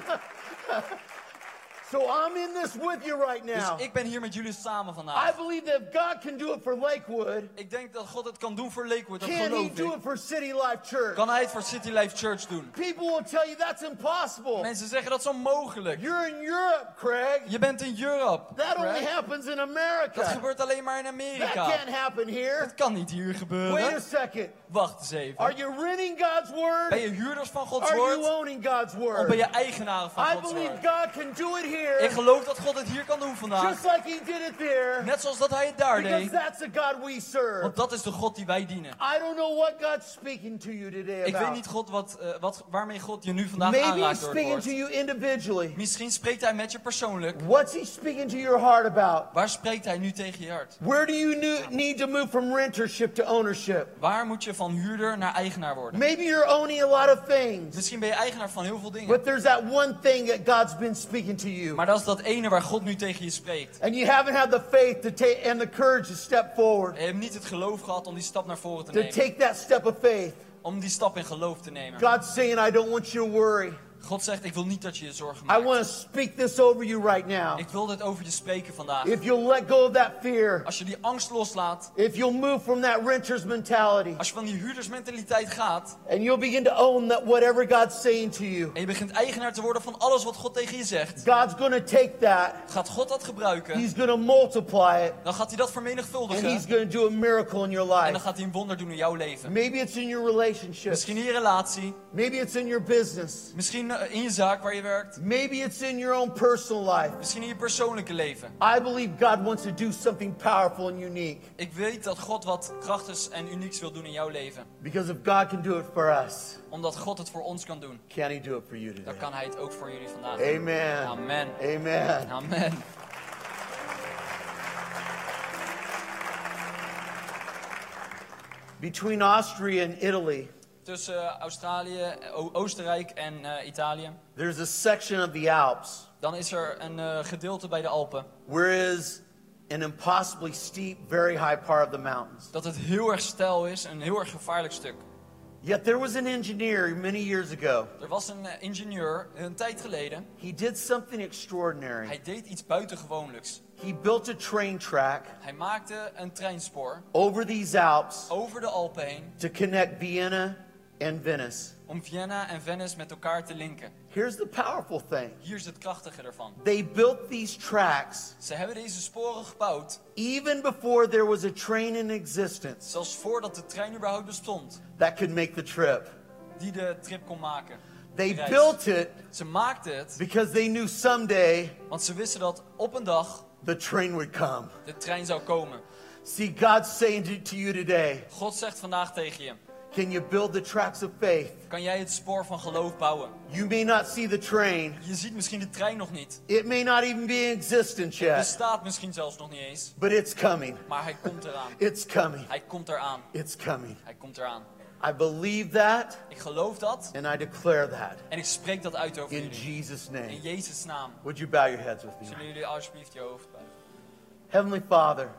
[SPEAKER 2] So I'm in this with you right
[SPEAKER 3] Dus
[SPEAKER 2] now.
[SPEAKER 3] ik ben hier met jullie samen
[SPEAKER 2] I
[SPEAKER 3] vandaag.
[SPEAKER 2] believe that if God can do it for Lakewood,
[SPEAKER 3] Ik denk dat God het kan doen voor Lakewood, dat
[SPEAKER 2] can He
[SPEAKER 3] geloof
[SPEAKER 2] do
[SPEAKER 3] ik.
[SPEAKER 2] it for City Life Church?
[SPEAKER 3] Kan hij het voor City Life Church doen?
[SPEAKER 2] People will tell you that's impossible.
[SPEAKER 3] Mensen zeggen dat is onmogelijk.
[SPEAKER 2] You're in Europe, Craig.
[SPEAKER 3] Je bent in Europe.
[SPEAKER 2] That only
[SPEAKER 3] Right?
[SPEAKER 2] happens in
[SPEAKER 3] Dat
[SPEAKER 2] America.
[SPEAKER 3] gebeurt alleen maar in
[SPEAKER 2] That
[SPEAKER 3] Amerika.
[SPEAKER 2] can't happen here.
[SPEAKER 3] Dat kan niet hier
[SPEAKER 2] Wait a
[SPEAKER 3] gebeuren.
[SPEAKER 2] second.
[SPEAKER 3] Wacht eens
[SPEAKER 2] Are
[SPEAKER 3] even.
[SPEAKER 2] you renting God's
[SPEAKER 3] Ben
[SPEAKER 2] word?
[SPEAKER 3] je huurders van Gods
[SPEAKER 2] Are you
[SPEAKER 3] woord?
[SPEAKER 2] owning God's
[SPEAKER 3] Of ben
[SPEAKER 2] word?
[SPEAKER 3] je eigenaar van
[SPEAKER 2] I
[SPEAKER 3] Gods
[SPEAKER 2] believe
[SPEAKER 3] woord?
[SPEAKER 2] God can do it
[SPEAKER 3] Ik
[SPEAKER 2] here,
[SPEAKER 3] geloof dat God het hier kan doen vandaag.
[SPEAKER 2] just like He did it there,
[SPEAKER 3] Net zoals dat hij het daar
[SPEAKER 2] because
[SPEAKER 3] deed.
[SPEAKER 2] that's the God we serve.
[SPEAKER 3] Want dat is de God die wij dienen.
[SPEAKER 2] I don't know what God's speaking to you today
[SPEAKER 3] Ik weet
[SPEAKER 2] about.
[SPEAKER 3] niet God wat, eh, wat, waarmee God je nu vandaag
[SPEAKER 2] Maybe He's
[SPEAKER 3] aanraakt door het
[SPEAKER 2] speaking to
[SPEAKER 3] woord.
[SPEAKER 2] you individually.
[SPEAKER 3] Misschien spreekt hij met je persoonlijk.
[SPEAKER 2] What's He speaking to your heart about?
[SPEAKER 3] Waar spreekt hij nu tegen je hart?
[SPEAKER 2] Where do you nu- need to move from rentership to ownership?
[SPEAKER 3] Waar moet je van huurder naar eigenaar worden?
[SPEAKER 2] Maybe you're owning a lot of things,
[SPEAKER 3] Misschien ben je eigenaar van heel veel dingen.
[SPEAKER 2] but there's that one thing that God's been speaking to you,
[SPEAKER 3] Maar dat is dat ene waar God nu tegen je spreekt.
[SPEAKER 2] and you haven't had the faith to take and the courage to step forward,
[SPEAKER 3] Je hebt niet het geloof gehad om die stap naar voren te
[SPEAKER 2] to
[SPEAKER 3] nemen.
[SPEAKER 2] take that step of faith.
[SPEAKER 3] Om die stap in geloof te nemen.
[SPEAKER 2] God's saying, "I don't want you to worry.
[SPEAKER 3] God zegt, ik wil niet dat je je zorgen
[SPEAKER 2] I
[SPEAKER 3] maakt.
[SPEAKER 2] want to speak this over you right now.
[SPEAKER 3] Ik wil dit over je spreken vandaag.
[SPEAKER 2] If you'll let go of that fear,
[SPEAKER 3] Als je die angst loslaat,
[SPEAKER 2] if you'll move from that renter's mentality,
[SPEAKER 3] als je van die huurdersmentaliteit gaat...
[SPEAKER 2] and you'll begin to own that whatever God's saying to you,
[SPEAKER 3] en je begint eigenaar te worden van alles wat God tegen je zegt...
[SPEAKER 2] God's going to take that.
[SPEAKER 3] gaat God dat gebruiken...
[SPEAKER 2] He's going to multiply it,
[SPEAKER 3] dan gaat hij dat
[SPEAKER 2] and He's
[SPEAKER 3] vermenigvuldigen...
[SPEAKER 2] going to do a miracle in your
[SPEAKER 3] en dan
[SPEAKER 2] life.
[SPEAKER 3] gaat hij een wonder doen in jouw leven.
[SPEAKER 2] Maybe it's in your relationships.
[SPEAKER 3] Misschien in je relatie,
[SPEAKER 2] Maybe it's in your business.
[SPEAKER 3] misschien eh, in je zaak waar je werkt...
[SPEAKER 2] Maybe it's in your own personal life.
[SPEAKER 3] misschien in je persoonlijke leven.
[SPEAKER 2] I believe God wants to do something powerful and unique
[SPEAKER 3] Ik weet dat God wat krachtigs en unieks wil doen in jouw leven.
[SPEAKER 2] because if God can do it for us,
[SPEAKER 3] Omdat God het voor ons kan doen.
[SPEAKER 2] can He do it for you today?
[SPEAKER 3] Dan kan hij het ook voor jullie vandaag doen.
[SPEAKER 2] Amen.
[SPEAKER 3] Amen.
[SPEAKER 2] Amen.
[SPEAKER 3] Amen.
[SPEAKER 2] Between Austria and Italy,
[SPEAKER 3] Tussen eh, Australië, eh, O- Oostenrijk en eh, Italië.
[SPEAKER 2] there's a section of the Alps
[SPEAKER 3] Dan is er een eh, gedeelte bij de Alpen.
[SPEAKER 2] where is an impossibly steep, very high part of the mountains.
[SPEAKER 3] Dat het heel erg steil is, een heel erg gevaarlijk stuk.
[SPEAKER 2] Yet there was an engineer many years ago.
[SPEAKER 3] Er was een eh, ingenieur een tijd geleden.
[SPEAKER 2] He did something extraordinary.
[SPEAKER 3] Hij deed iets buitengewoonlijks.
[SPEAKER 2] He built a train track
[SPEAKER 3] Hij maakte een treinspoor
[SPEAKER 2] over these Alps
[SPEAKER 3] over de Alpen heen
[SPEAKER 2] to connect Vienna and Venice.
[SPEAKER 3] om Vienna en Venice met elkaar te linken.
[SPEAKER 2] Here's the powerful thing
[SPEAKER 3] Hier is het krachtige ervan.
[SPEAKER 2] they built these tracks
[SPEAKER 3] Ze hebben deze sporen gebouwd,
[SPEAKER 2] even before there was a train in existence
[SPEAKER 3] zelfs voordat de trein überhaupt bestond,
[SPEAKER 2] that could make the trip.
[SPEAKER 3] die de trip kon maken.
[SPEAKER 2] They
[SPEAKER 3] De reis.
[SPEAKER 2] built it
[SPEAKER 3] Ze maakten het,
[SPEAKER 2] because they knew someday
[SPEAKER 3] want ze wisten dat op een dag
[SPEAKER 2] the train would come.
[SPEAKER 3] de trein zou komen.
[SPEAKER 2] See, God's saying to, to you today
[SPEAKER 3] God zegt vandaag tegen je:
[SPEAKER 2] can you build the tracks of faith?
[SPEAKER 3] kan jij het spoor van geloof bouwen?
[SPEAKER 2] You may not see the train,
[SPEAKER 3] Je ziet misschien de trein nog niet.
[SPEAKER 2] it may not even be in existence
[SPEAKER 3] Er
[SPEAKER 2] yet,
[SPEAKER 3] staat misschien zelfs nog niet eens,
[SPEAKER 2] but it's coming.
[SPEAKER 3] maar hij komt eraan.
[SPEAKER 2] It's coming.
[SPEAKER 3] Hij komt eraan.
[SPEAKER 2] It's coming.
[SPEAKER 3] Hij komt eraan.
[SPEAKER 2] I believe that
[SPEAKER 3] Ik geloof dat
[SPEAKER 2] and I declare that
[SPEAKER 3] en ik spreek dat uit over
[SPEAKER 2] in
[SPEAKER 3] jullie.
[SPEAKER 2] Jesus'
[SPEAKER 3] In
[SPEAKER 2] name.
[SPEAKER 3] Jezus' naam.
[SPEAKER 2] Would you bow your heads with me?
[SPEAKER 3] Zullen jullie alsjeblieft je hoofd buigen.
[SPEAKER 2] Heavenly Father,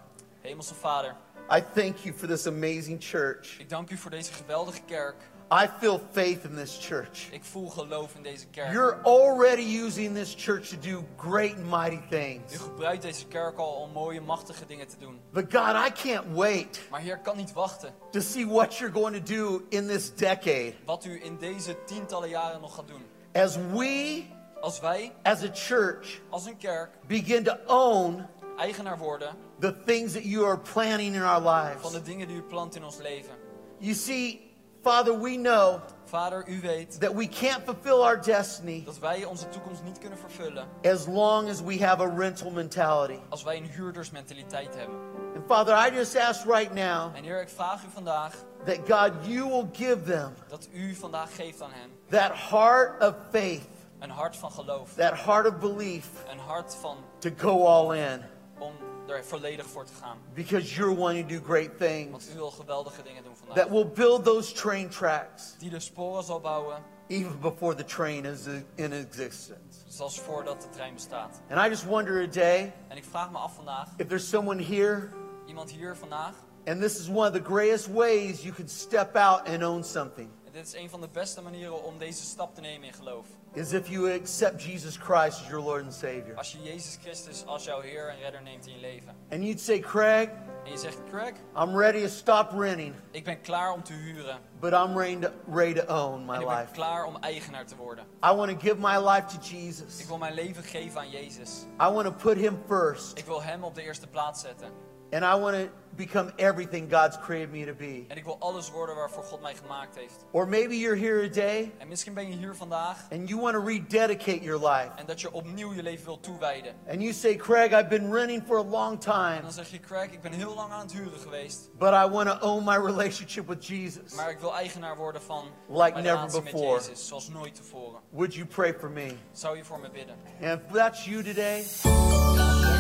[SPEAKER 3] Hemelse Vader,
[SPEAKER 2] I thank you for this amazing church.
[SPEAKER 3] ik dank u voor deze geweldige kerk.
[SPEAKER 2] I feel faith in this church.
[SPEAKER 3] Ik voel geloof in deze kerk.
[SPEAKER 2] You're already using this church to do great and mighty
[SPEAKER 3] U
[SPEAKER 2] things.
[SPEAKER 3] gebruikt deze kerk al om mooie, machtige dingen te doen.
[SPEAKER 2] But God, I can't wait
[SPEAKER 3] Maar Heer, ik kan niet wachten
[SPEAKER 2] to see what you're going to do in this decade.
[SPEAKER 3] wat u in deze tientallen jaren nog gaat doen.
[SPEAKER 2] As we,
[SPEAKER 3] Als wij,
[SPEAKER 2] as a church,
[SPEAKER 3] als een kerk,
[SPEAKER 2] begin to own
[SPEAKER 3] eigenaar worden
[SPEAKER 2] the things that you are planning in our
[SPEAKER 3] van
[SPEAKER 2] lives.
[SPEAKER 3] de dingen die u plant in ons leven.
[SPEAKER 2] You see, Father, we know
[SPEAKER 3] Vader, u weet
[SPEAKER 2] that we can't fulfill our destiny
[SPEAKER 3] dat wij onze toekomst niet kunnen vervullen
[SPEAKER 2] as long as we have a rental mentality.
[SPEAKER 3] als wij een huurdersmentaliteit hebben.
[SPEAKER 2] And Father, I just ask right now
[SPEAKER 3] En Heer, ik vraag u vandaag
[SPEAKER 2] that God, you will give them
[SPEAKER 3] dat u vandaag geeft aan hen
[SPEAKER 2] that heart of faith,
[SPEAKER 3] een hart van geloof,
[SPEAKER 2] that heart of belief
[SPEAKER 3] een hart van
[SPEAKER 2] to go all in
[SPEAKER 3] om er volledig voor te gaan.
[SPEAKER 2] because you're wanting to do great
[SPEAKER 3] Want
[SPEAKER 2] things
[SPEAKER 3] u wil geweldige dingen doen vandaag.
[SPEAKER 2] that will build those train tracks,
[SPEAKER 3] Die de sporen zal bouwen
[SPEAKER 2] even before the train is in existence.
[SPEAKER 3] Zelfs voordat de trein bestaat.
[SPEAKER 2] And I just wonder today
[SPEAKER 3] En ik vraag me af vandaag,
[SPEAKER 2] if there's someone here,
[SPEAKER 3] iemand hier vandaag,
[SPEAKER 2] and this is one of the greatest ways you can step out and own something,
[SPEAKER 3] en dit is een van de beste manieren om deze stap te nemen in geloof.
[SPEAKER 2] is if you accept Jesus Christ as your Lord and Savior.
[SPEAKER 3] Als je Jezus Christus als jouw Heer en Redder neemt in je leven.
[SPEAKER 2] And you'd say, Craig,
[SPEAKER 3] En je zegt, Craig,
[SPEAKER 2] I'm ready to stop renting,
[SPEAKER 3] ik ben klaar om te huren.
[SPEAKER 2] but I'm ready to, ready to own my
[SPEAKER 3] En ik ben
[SPEAKER 2] life.
[SPEAKER 3] klaar om eigenaar te worden.
[SPEAKER 2] I want to give my life to
[SPEAKER 3] Ik
[SPEAKER 2] Jesus.
[SPEAKER 3] wil mijn leven geven aan Jezus.
[SPEAKER 2] I want to put Him first,
[SPEAKER 3] Ik wil Hem op de eerste plaats zetten.
[SPEAKER 2] and I want to become everything God's created me to be.
[SPEAKER 3] En ik wil alles worden waarvoor God mij gemaakt heeft.
[SPEAKER 2] Or maybe you're here today
[SPEAKER 3] En misschien ben je hier vandaag
[SPEAKER 2] and you want to rededicate your life.
[SPEAKER 3] en dat je opnieuw je leven wilt toewijden.
[SPEAKER 2] And you say, Craig, I've been renting for a long
[SPEAKER 3] En
[SPEAKER 2] time,
[SPEAKER 3] dan zeg je, Craig, ik ben heel lang aan het huren geweest.
[SPEAKER 2] but I want to own my relationship with Jesus.
[SPEAKER 3] Maar ik wil eigenaar worden van
[SPEAKER 2] Like
[SPEAKER 3] mijn
[SPEAKER 2] never
[SPEAKER 3] relatie
[SPEAKER 2] before.
[SPEAKER 3] met Jezus. Zoals nooit tevoren.
[SPEAKER 2] Would you pray for me?
[SPEAKER 3] Zou je voor me bidden?
[SPEAKER 2] And if that's you today,
[SPEAKER 3] Als jij